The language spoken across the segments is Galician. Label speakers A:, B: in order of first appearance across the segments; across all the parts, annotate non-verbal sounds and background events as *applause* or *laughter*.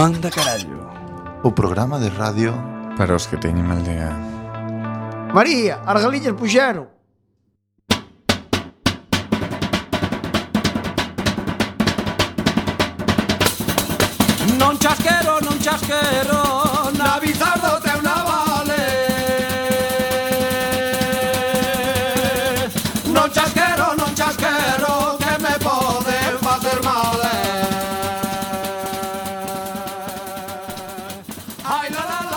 A: Manda carallo
B: O programa de radio
C: Para os que teñen aldea
D: María, as galiñas puxeron.
E: Non chasquero, non chasquero Na bizardo treu na vale Non chasquero, non chasquero Que me pode facer mal eh. Ai la la la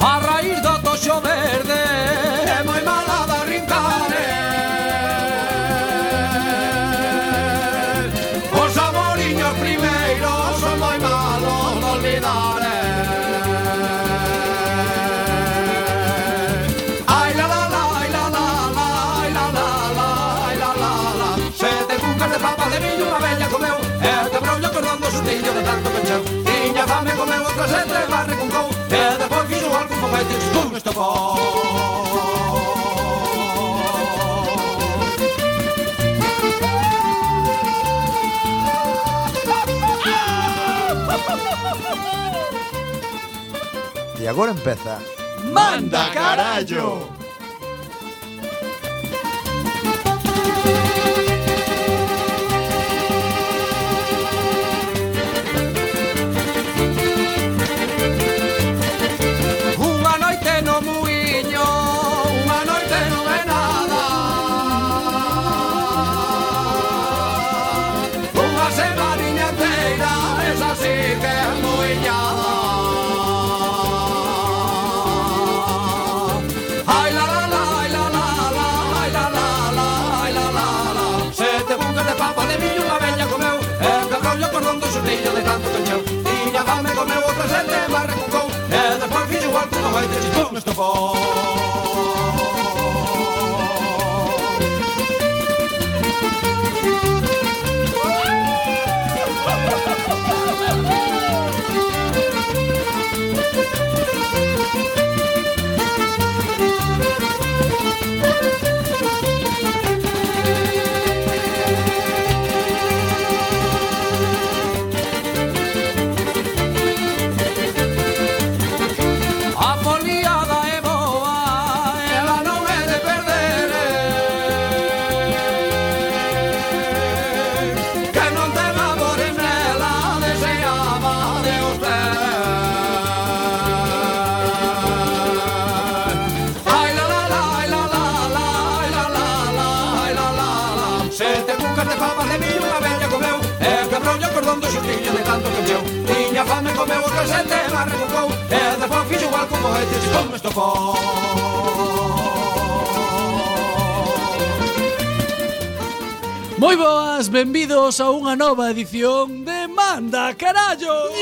E: A raíz do toxo verde É moi mala da rincare Os amoriños primeiros Son moi malos de olvidar eh. Ai la la la, ai la la la Ai la la la, ai la la la Sete cucas de papa de millo Unha bella comeu E te brollo perdón do sustillo de tanto pencheu Tiña fame comeu outra sete Barre con cou E depois fixo algún foguete Pum, estopou
D: E agora empeza
E: Manda carallo. Unha noite no muiño, unha noite no é nada. Unha semaninha inteira, esa sí que é muiñada. Ai la la la, ai la la la, ai la la la, ai la la la. Sete bucas de papa de millo unha bella comeu, e de rollo cordón do xurrillo de tanto cancheu. Tiña fame comeu outra sete, mas recucou, e despois fixo igual que non vai ter chispón estopou. A e foliada é boa, ela non é e de perder eh. Que non te labores nela, deseaba de usted Ai la la la, ai la la la, ai la la la, ai la la la Sete cucas de papas de millo unha bella comeu E quebrou o cordón do xurtillo de tanto que meu Tiña fame comeu o casete, mas recucou E despois fixo igual como este, se come estopou
A: Moi boas, benvidos a unha nova edición de Manda Carallo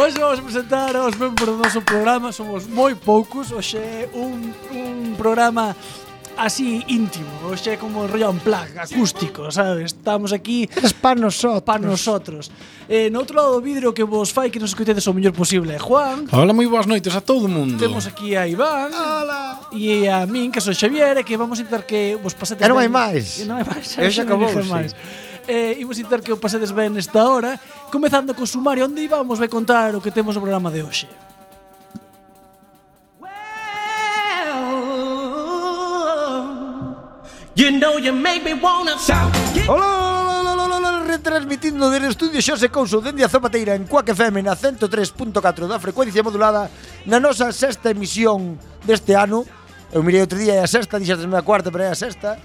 A: Hoxe vamos presentar os membros do noso programa Somos moi poucos Hoxe é un, un programa así íntimo Hoxe é como rollo en plan, acústico, sabes? Estamos aquí
F: Es pa nosotros.
A: para nosotros eh, No outro lado do vidro que vos fai que nos escoitedes o mellor posible é Juan
G: Hola, moi boas noites a todo o mundo.
A: Temos aquí a Iván E a min, que son Xavier E que vamos intentar que vos pasetes
F: E non
A: ben-
F: hai máis.
A: E non hai máis
F: E xa acabou,
A: Ah, non hai máis.
F: sí.
A: Eh, imos intentar que o pasedes ben nesta hora Comezando co sumario onde íbamos vai contar o que temos no programa de hoxe
E: You know you make me wanna shout
D: Hola, hola, hola, hola, hola, retransmitindo desde o estudio Xose Couso dende a Zapateira en Coac FM na 103.4 da frecuencia modulada na nosa sexta emisión deste ano. Eu mirei outro día é a sexta, dixatesme a cuarta, pero é a sexta.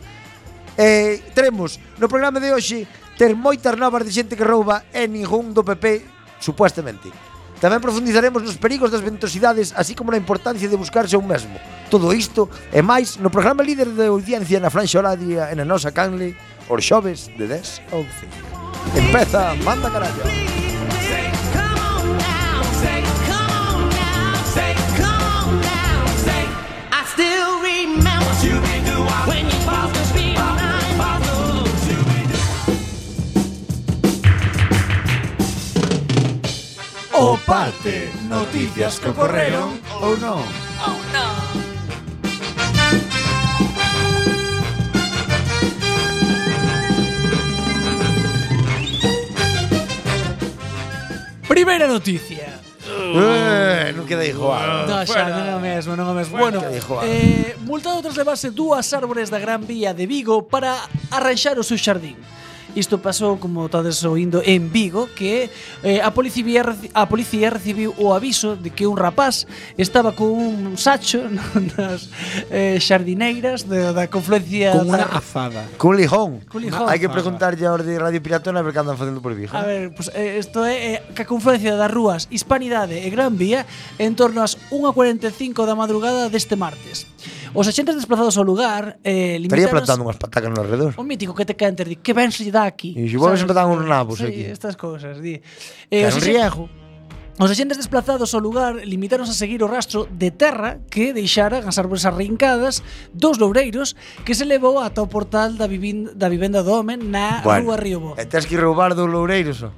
D: Eh, teremos no programa de hoxe ter moitas novas de xente que rouba e ningún do PP supuestamente. Tamén profundizaremos nos perigos das ventosidades, así como na importancia de buscarse un mesmo. Todo isto e máis no programa líder de audiencia na Franxa Horaria e na nosa canle, os xoves de 10 a 11. Empeza, manda carallo.
B: O parte, noticias que ocorreron ou non.
A: Primeira noticia.
D: Eh, non queda igual.
G: Ah,
A: No, xa, non é o mesmo, non é o mesmo. Bueno,
D: que dijo, ah.
A: eh, multado tras levarse dúas árbores da Gran Vía de Vigo para arranxar o seu xardín. Isto pasou, como estades oindo, en Vigo Que eh, a, policía, reci- a policía recibiu o aviso De que un rapaz estaba con un sacho *laughs* Nas eh, xardineiras de, da confluencia
G: Con una
A: da,
G: azada.
D: Cun lijón.
A: Cun lijón.
D: Hai que preguntarlle aos de Radio Piratona ver que andan facendo por Vigo.
A: A ver, pues, eh, isto é eh, que a confluencia das rúas Hispanidade e Gran Vía en torno ás 1.45 da madrugada deste martes. Os agentes desplazados ao lugar eh,
D: Estaría
A: limitaron
D: plantando unhas patacas no alrededor.
A: O mítico que te caen ter di, que ben se lle dá aquí.
D: E se volves
A: sabes?
D: a empezar uns nabos
A: sí,
D: aquí.
A: estas cousas, di.
D: Que
A: Eh,
D: era un
A: axe-
D: riego.
A: Os axentes desplazados ao lugar limitaronse a seguir o rastro de terra que deixaran as árbores arrincadas dos loureiros que se levou ata o portal da, vivin- da vivenda do home na rúa Río Bo.
D: E tes que ir roubar do Loureiro, só.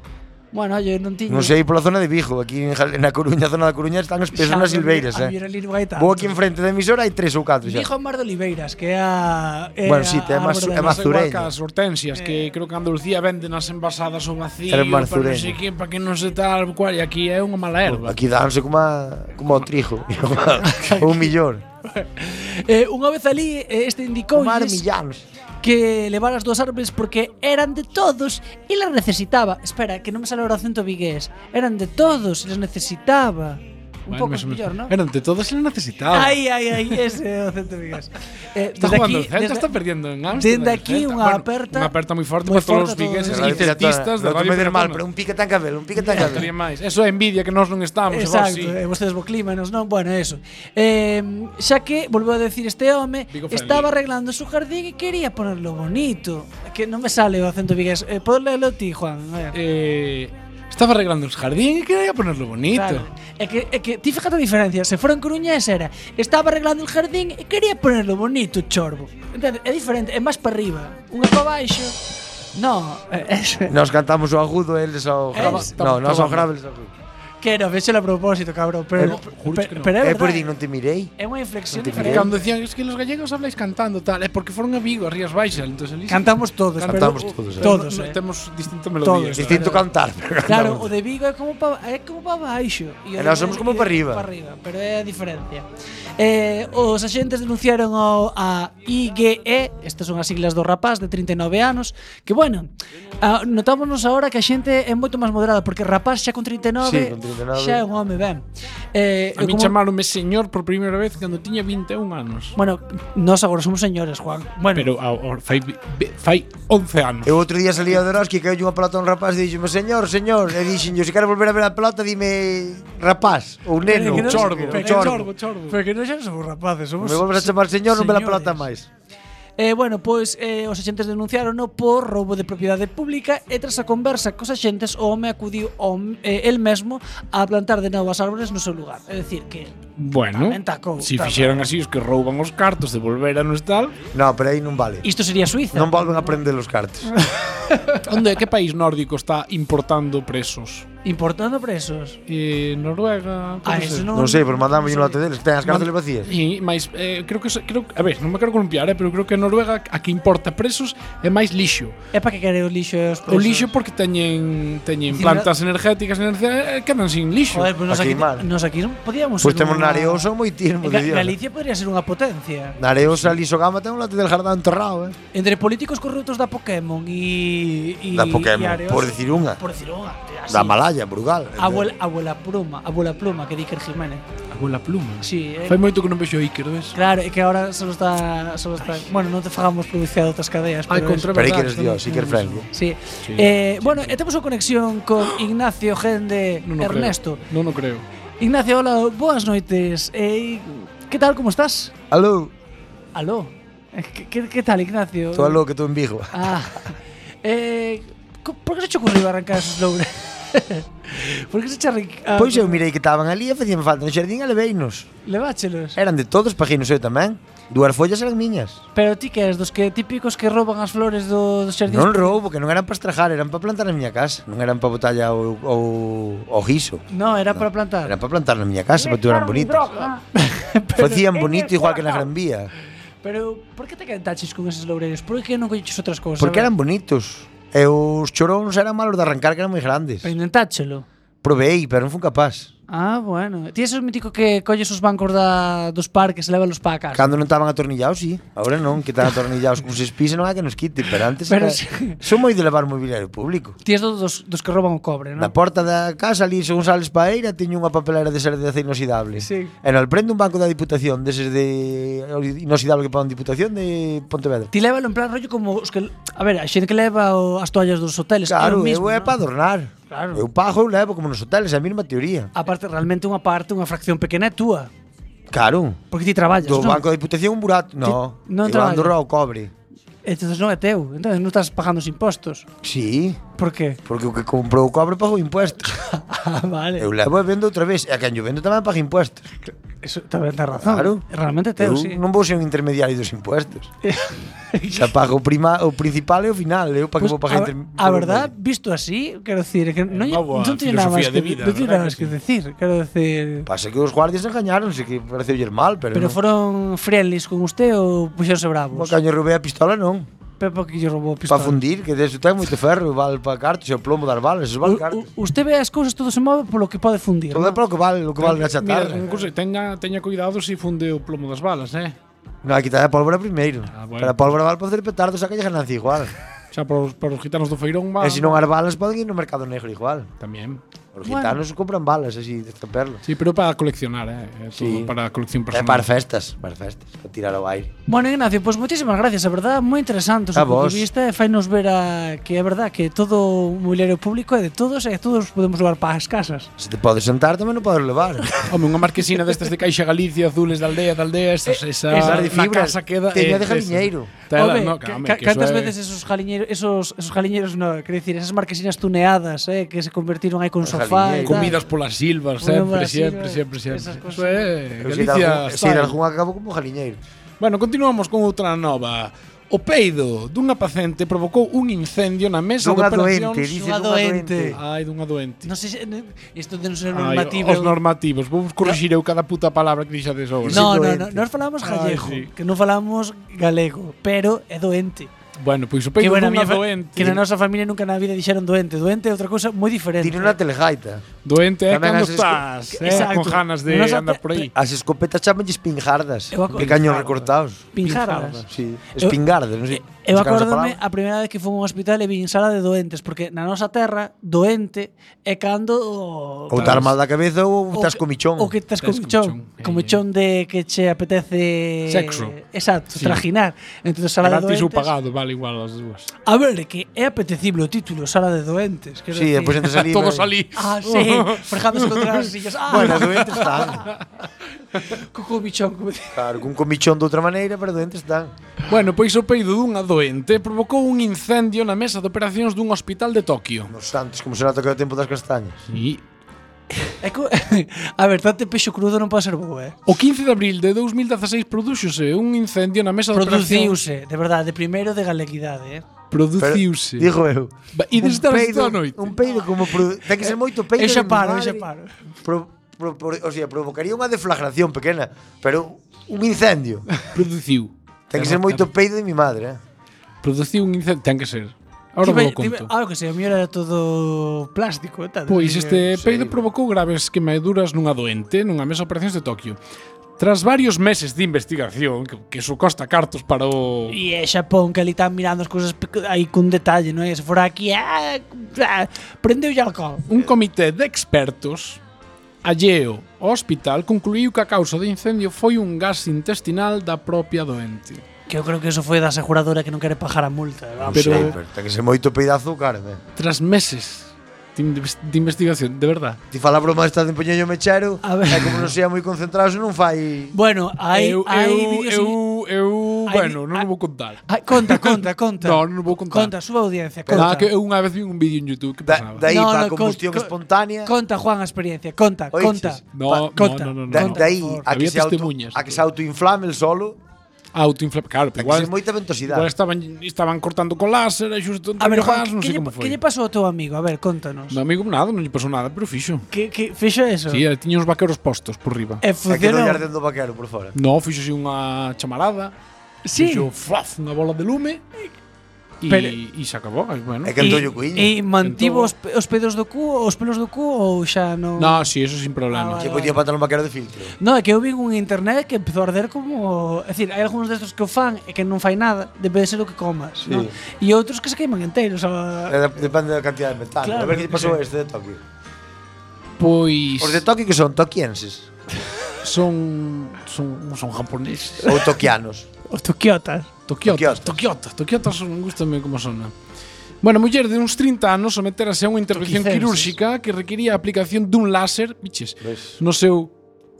A: Bueno, yo non
D: eh,
A: tiño...
D: Non sei pola zona de Vigo, aquí en Jal- na Coruña, zona da Coruña, están os pesos
A: Xa,
D: nas
A: non-
D: silveiras,
A: a
D: eh.
A: mira ali non hai tanto.
D: Vou aquí enfrente da emisora hai tres ou catro xa.
A: Dijo Mar de Oliveiras, que é a... É
D: Bueno,
A: a
D: sí, te é máis- é
A: árbore da
D: máis
A: nosa-
G: Pasa igual
D: Mazureño.
G: que as hortensias, que creo que en Andalucía venden as envasadas ao vacío,
D: Eran
G: para non
D: mazureño.
G: sei que, para que non se tal, cual, e aquí é unha mala erva.
D: Aquí danse como a, como ao trigo, *laughs* ou millón.
A: Eh, unha vez ali, eh, este indicou
D: Como millóns.
A: que levar as dúas árbores porque eran de todos e las necesitaba. Espera, que non me sale o acento vigués. Eran de todos e las necesitaba. Un pouco mellor, non?
G: Eran de todos e non necesitaba.
A: Ai, ai, ai, ese é o acento vigués. Eh,
G: Está
A: desde aquí-
G: jugando el Celta,
A: desde-
G: está perdiendo en Ámsterdam.
A: Desde
G: el
A: aquí
G: Celta.
A: unha
G: Bueno,
A: aperta
G: Unha aperta moi forte
A: moi
G: para todos os
A: forte a todos.
G: vigueses
A: Radio
G: e celtistas da
D: Non te
G: Radio
D: me des mal,
G: Piratona.
D: pero un pique tan cabelo, un pique tan
G: Estaría
D: cabelo.
G: máis. Eso é envidia que nós non estamos, agora
A: Exacto,
G: sí.
A: e vostedes bo clima, e nos non, bueno, eso. Eh, xa que volveu a decir este home
G: Digo friendly.
A: estaba arreglando su jardín e quería ponerlo bonito. Que non me sale o acento vigués. Eh, podes lelo ti, Juan. A ver.
G: Eh, estaba arreglando el jardín e quería ponerlo bonito.
A: Claro. É que, é que ti fíjate a diferencia, se fora en Coruñés era estaba arreglando el jardín e quería ponerlo bonito, chorbo. Entende? É diferente, é máis para arriba, unha para baixo. No, eh, *laughs* é, é,
D: Nós cantamos o agudo, eles ao grave.
A: Eles-
D: Non, nós ao grave, eles ao agudo.
A: que era, vexelo a propósito, cabrón, pero,
D: Eh,
G: juro
A: pe-
G: que non.
A: pero
D: É
A: é
D: por
A: verdade.
D: di, non te mirei.
A: É unha inflexión
D: Non te
G: E
A: diferente.
G: Cando decían es que los gallegos habláis cantando tal, é porque foron a Vigo, a Rías Baixas, entonces ali-
A: Cantamos todos, pero-
D: Cantamos todos, eh.
G: pero
A: todos,
G: no-
A: eh.
G: temos distinta
A: Todos.
G: melodía.
D: Distinto
A: Claro.
D: cantar, pero
A: Claro,
D: cantamos.
A: o de Vigo é como pa, é como para baixo. o
D: E
A: de
D: nós somos
A: Madrid
D: como pa
A: é
D: arriba.
A: Pa arriba, pero é a diferencia. Eh, os axentes denunciaron ao a IGE, estas son as siglas do rapaz de 39 anos, que bueno, a, notámonos agora que a xente é moito máis moderada porque rapaz xa con 39,
D: Sí, con 39.
A: xa é un home ben. Eh,
G: A min
A: como-
G: chamaronme señor por primeira vez cando tiña 21 anos.
A: Bueno, nós agora somos señores, Juan. Bueno,
G: Pero ao- ao- fai, ve- fai 11 anos.
D: Eu outro día salía de Roski que caiu unha pelota a un rapaz e dixome "Señor, señor", e dixen "Se quero volver a ver a pelota, dime rapaz ou neno,
A: Pero Eh, que non-
G: chorbo,
A: pero que Eh,
D: chorbo.
G: chorbo, chorbo.
A: pero que non xa somos rapaces, somos
D: Me volves a chamar señor, non me la
A: señores.
D: pelota máis.
A: Eh, bueno, pois eh, os axentes denunciaron por roubo de propiedade pública e tras a conversa cos axentes o home acudiu ao, eh, el mesmo a plantar de novo as árbores no seu lugar. É dicir, que
G: Bueno,
A: Tamén tacou,
G: si
A: tamén.
G: fixeran así os que rouban os cartos, devolveran os tal.
D: No, pero aí non vale.
A: isto sería Suiza.
D: Non volven a prender os cartos.
G: Onde, que país nórdico está importando presos?
A: Importando presos.
G: Eh,
A: Ah,
G: Noruega, pode
A: eso
G: ser.
A: non,
D: non sei, pero mandámoslle un
A: non
D: lote deles, que ten as cárceles vacías.
G: E máis eh, creo que se- creo a ver, non me quero columpiar, eh, pero creo que Noruega a que importa presos é máis lixo.
A: sei. É para que quere o lixo e os presos.
G: O lixo porque teñen teñen
A: Encima-
G: plantas energéticas, enerxía, eh, quedan sin lixo.
A: Joder, pues
D: Pa
A: nos aquí,
D: queimar.
A: nos aquí non podíamos
D: Pois
A: ser
D: temos e
A: un
D: Nareos son moi tirmos,
A: Ga-
D: de Dios.
A: Galicia podría ser unha potencia.
D: Nareos a Liso Gama ten un latte del jardán enterrado, eh.
A: Entre políticos corruptos da Pokémon e e
D: Da Pokémon,
A: e Areos-
D: por decir unha.
A: Por decir unha, así.
D: Da Malaya, Brugal.
A: Abuela, abuela pluma, abuela pluma que di Iker Jiménez.
G: Abuela pluma.
A: Sí, eh.
G: Fai moito que non vexo a Iker, ves?
A: Claro, é que ahora solo está, solo está, bueno, non te fagamos publicidade de outras cadeas,
G: Ai,
A: pero
G: contra
D: Pero aí
G: verdade,
D: queres Dios,
G: estamos-
D: sí que Franco.
A: Sí. eh, bueno, e temos unha conexión con Ignacio Gende
G: Non o creo.
A: Ernesto.
G: Non o creo.
A: Ignacio, hola, boas noites. Eh, que tal, como estás?
D: Aló,
A: Aló. Eh, Que, que, que tal, Ignacio?
D: tú aló que tú en Vigo.
A: Ah. Eh, co- por que se che ocurriu arrancar esos louros? *laughs* por que se che arranca- ah,
D: Pois eu mirei que estaban ali e facían falta no xardín e leveinos.
A: Leváchelos.
D: Eran de todos, paginos eu tamén. Duas follas eran miñas.
A: Pero ti que és dos que típicos que roban as flores do, dos xardíns?
D: Non roubo, que non eran para estrajar, eran para plantar na miña casa. Non eran para botalla o, o, o guiso.
A: No, era para plantar.
D: Eran para plantar na miña casa, para que eran bonitos. *laughs* Facían bonito igual que na Gran Vía.
A: Pero por que te cantaches con esos loureiros? Por que non colleches outras cousas?
D: Porque
A: A ver,
D: eran bonitos. E os choróns eran malos de arrancar, que eran moi grandes.
A: Pero intentáchelo.
D: Proveei, pero non fun capaz.
A: Ah, bueno. Ti esos mítico que colles os bancos da, dos parques e lévalos para casa.
D: Cando non estaban atornillados, sí. Ahora non, que están atornillados con seis pis e non hai que nos quite. Pero antes
A: Pero
D: era...
A: sí.
D: Son moi de levar mobiliario público.
A: Ti és do- dos, dos que roban o cobre, non?
D: Na porta da casa ali, según sales pa eira, tiño unha papelera de ser de acero inoxidable.
A: Sí.
D: E no prende un banco da Diputación, deses de inoxidable que pon Diputación de Pontevedra.
A: Ti lévalo en plan rollo como os que... A ver, a xente que leva o, as toallas dos hoteles. é
D: Claro,
A: o mismo,
D: eu é
A: non?
D: para adornar.
A: Claro.
D: Eu pago, eu levo como nos hoteles, é a mesma teoría.
A: A parte, realmente unha parte, unha fracción pequena é túa.
D: Claro.
A: Porque ti traballas,
D: Do
A: non?
D: banco da Diputación un burato. No,
A: non
D: eu ando ao
A: traballo.
D: cobre.
A: Entonces non é teu. Entonces non estás pagando os impostos.
D: Sí,
A: Por que? *laughs*
D: porque o que comprou o cobre pagou impuestos.
A: ah, vale.
D: eu levo e vendo outra vez. E a quen yo vendo tamén paga impuestos.
A: Eso tamén ten razón.
D: Claro.
A: Realmente é teu,
D: eu
A: sí.
D: non vou ser un intermediario dos impuestos.
A: *laughs*
D: Xa pago o, prima, o principal e o final. Eu para que
A: Pues,
D: vou pagar
A: a,
D: inter-
A: a verdad, visto así, quero decir, que non,
G: unha boa
A: non teño nada máis
G: filosofía
A: que,
G: de vida,
A: non teño
G: verdad
A: nada
G: que
A: máis que
G: sí.
A: decir, quero decir,
D: Pasa que os guardias engañaronse, que pareceu mal, pero,
A: pero
D: non.
A: foron friendlies con usted ou puxéronse
D: Como
A: bravos?
D: caño roubei a pistola non.
A: Pepa que lle roubou a
D: Para
A: pistola.
D: fundir, que deso ten moito ferro, vale para cartos, e o plomo das balas, eso vale
A: U-
D: cartos.
A: u- Usted ve as cousas todo se move polo que pode fundir.
D: Todo é
A: non?
D: para o que vale, o que vale na
G: Mira,
D: chatarra.
G: un consello, teña, teña cuidado se funde o plomo das balas, eh?
D: Non, hai que quitar a pólvora primeiro.
G: Ah, bueno.
D: Pero a pólvora vale para facer petardos, a calle ganancia igual.
G: Xa para os, para os gitanos do Feirón
A: Ah,
G: va.
D: E se non as balas poden ir no mercado negro igual.
G: Tamén.
D: Os
A: Bueno.
D: gitanos compran balas así de estamperlo.
G: Sí, pero para coleccionar, eh? É todo
D: Sí.
G: para colección
D: É
G: personal.
D: para as festas, para as festas, para tirar ao aire.
A: Bueno, Ignacio, pois pues, moitísimas gracias, a verdad, moi interesante o
D: A
A: seu punto
D: vos.
A: de vista e fainos ver a que é verdad que todo o mobiliario público é de todos e todos podemos levar para as casas.
D: Se te podes sentar tamén non podes levar.
G: Home, unha marquesina destas de Caixa Galicia, azules da aldea, da aldea, estas, esa,
D: esas de
G: na
D: fibra,
G: casa queda...
D: teña de
G: eso.
D: jaliñeiro.
G: Tela,
A: Home,
G: no,
A: ca-
G: home,
A: ca-
G: que
A: cantas
G: eso é-
A: veces esos jaliñeiros, esos, esos jaliñeiros, no, quero dicir, esas marquesinas tuneadas, eh, que se convertiron aí con
D: Os
A: sofá e
D: jaliñeiros.
A: tal.
G: Comidas polas silvas,
A: Comidas
G: sempre,
A: polas
G: sempre,
A: silvas,
G: sempre,
A: esas
G: sempre.
A: cosas.
G: Eso é
D: Eu sei de
G: Galicia.
D: algún- sei de
G: style.
D: algún acabo como jaliñeiro.
G: Bueno, continuamos con outra nova. O peido dunha paciente provocou un incendio na mesa
D: Dunha
G: de operacións.
D: doente, dice
A: unha
D: dunha
A: doente.
D: doente.
G: Ai, dunha doente.
A: Non sei se ne- isto non ser
G: Ai,
A: normativo.
G: os normativos. Vou corrixir eu cada puta palabra que dixades agora.
A: No, no,
D: doente.
A: no, nós falamos
G: Ai,
A: gallego,
G: sí.
A: que non falamos galego, pero é doente.
G: Bueno, pois o
A: Que
G: peido
A: bueno, a miña
G: dunha
A: fa-
G: doente.
A: que na nosa familia nunca na vida dixeron doente, doente é outra cousa moi diferente.
D: Tiene unha telegaita.
G: Doente é
D: Tamén
G: cando
D: as esco-
G: estás, eh,
A: Exacto.
G: con ganas de
A: Na nosa te-
G: andar por aí.
D: As escopetas chamanlles pinjardas.
A: Eu aco-
D: Que caños recortados.
A: Pinjardas.
D: Sí,
A: Eu-
D: espingardas, non sei.
A: Eu
D: buscamos a
A: acórdome
D: palabra.
A: a primeira vez que fui a un hospital e vin sala de doentes, porque na nosa terra, doente é cando... o-
D: Ou estar mal da cabeza ou
A: o
D: estás
A: que-
D: comichón.
A: O que estás
G: Estás
A: comichón.
G: comichón, eh.
A: Comichón de que che apetece...
G: Sexo.
A: Exacto,
G: Sí.
A: trajinar. Entón, sala de
G: Gratis ou
A: doentes...
G: pagado, vale igual as dúas.
A: A ver, é que é apetecible o título, sala de doentes. quero
D: Sí, e
A: decir.
D: pois entras
G: *laughs*
D: ali.
G: Todos
D: vai-
G: ali.
A: *laughs* Ah, sí,
D: *laughs*
A: forjándose contra as sillas. Ah,
D: Bueno,
A: *laughs*
D: doentes están.
A: co comichón. como di-
D: Claro, cun comichón de outra maneira, pero doentes están.
G: *laughs* Bueno, pois o peido dunha doente provocou un incendio na mesa de operacións dun hospital de Tokio.
D: Nos santos, como será tocado o tempo das castañas.
G: E
A: É co- *laughs* A ver, tanto peixo crudo non pode ser bo, eh?
G: O 15 de abril de 2016 produciuse un incendio na mesa de operacións.
A: Produciuse, de verdade, de primeiro de galeguidade, eh?
D: Pero,
G: Produciuse.
D: Digo eu.
G: Ba- E desde
D: un
G: as
D: peido,
G: toda a noite.
D: un peido como produ- ten que ser moito peido.
A: Eu xa
D: de
A: paro, eu
D: madre.
A: xa paro.
D: Pro, pro, pro, o sea, provocaría unha deflagración pequena, pero un incendio.
G: Produciu.
D: Ten que ser moito peido de mi madre, eh.
G: Produciu un incendio. Ten que ser. Ahora
A: Tiba-
G: vou
A: tiba-
G: conto.
A: Ah, o que sei, a mí era todo plástico e tal.
G: Pois este
A: Sí.
G: peido provocou graves queimaduras nunha doente nunha mesa de operacións de Tokio. Tras varios meses de investigación, que, que iso costa cartos para o...
A: E é Xapón que ali están mirando as cousas pe- aí cun detalle, non é? Se fora aquí, ah, ah, prendeu alcohol.
G: Un comité de expertos alleo ao hospital concluíu que a causa do incendio foi un gas intestinal da propia doente.
A: Que eu creo que eso foi da aseguradora que non quere pagar a multa. Vamos.
G: Pero-
D: Sí, pero ten que ser moito peidazo, cara, me.
G: Tras meses de, inves- de investigación, de verdad.
D: Ti fala a broma esta de empeñeño mechero,
A: A ver.
D: e como non sea moi concentrado, non fai...
A: Bueno, hai,
G: eu,
A: hai
G: eu,
A: vídeos
G: eu,
A: en-
G: eu,
A: hai
G: bueno,
A: vi-
G: non
A: ah,
G: o vou contar.
A: Ai, conta, conta,
G: *laughs*
A: conta.
G: No, non vou contar.
A: Conta, suba a audiencia, conta.
G: Nada, que eu unha vez vi un vídeo en YouTube que
D: Da,
G: pasaba.
D: daí
A: No,
D: pa
A: no,
D: combustión
A: con-
D: espontánea.
A: Conta, Juan, a experiencia. Conta,
D: Oiches.
A: conta.
G: No,
D: pa-
G: no,
A: conta,
G: no, no, no,
D: da,
G: no.
A: conta.
D: daí a
A: por favor.
D: que
G: Había
D: se auto,
G: testemunhas,
D: a que se
G: creo.
D: autoinflame el solo,
G: Autoinflame, claro,
D: a
G: pero
D: que
G: igual,
D: se moita
G: igual
D: ventosidade.
G: estaban, estaban cortando con láser, e xusto
A: A ver, Juan,
G: non
A: que,
G: sei
A: lle,
G: como
A: que
G: foi.
A: lle pasou ao teu amigo? A ver, contanos.
G: No amigo nada, non lle pasou nada, pero fixo.
A: Que, que fixo eso?
G: Si, sí, eh, tiña uns vaqueros postos por riba.
D: É que
A: E
D: non lle
A: funcionou.
D: arden do vaquero por fora.
G: No, fixo así unha chamarada,
A: Sí.
G: fixo flaf, unha bola de lume, e,
A: Pero-
G: e se acabou. e Bueno.
D: É que entolle o cuiño.
A: E mantivo
G: Entón-
A: os, pe- os pedos do cu, os pelos do cu ou xa non?
G: No, si, sí, eso sin
A: Ah,
G: problema.
D: Que
A: vale.
D: podía pantalón vaquero de filtro.
A: No, é que eu vi un internet que empezou a arder como... É dicir, hai algúns destos que o fan e que non fai nada, depende de ser o que comas.
D: Sí.
A: non? E outros que se queiman enteiros. A...
D: Eh, Depende da cantidade de metal. a
A: Claro,
D: ver que lle
A: sí.
D: pasou a este de Tokio.
G: Pois
D: Os de Tokio que son toquienses
G: son, son, son japoneses.
D: ou
A: *laughs*
D: toquianos.
A: Os toquiotas.
G: Tokiotas,
D: Tokiotas.
G: Tokiotas, Tokiotas son, gustame como sona. Bueno, muller de uns 30 anos someterase a unha intervención
A: Toquicenses.
G: quirúrxica que requería a aplicación dun láser, biches, no seu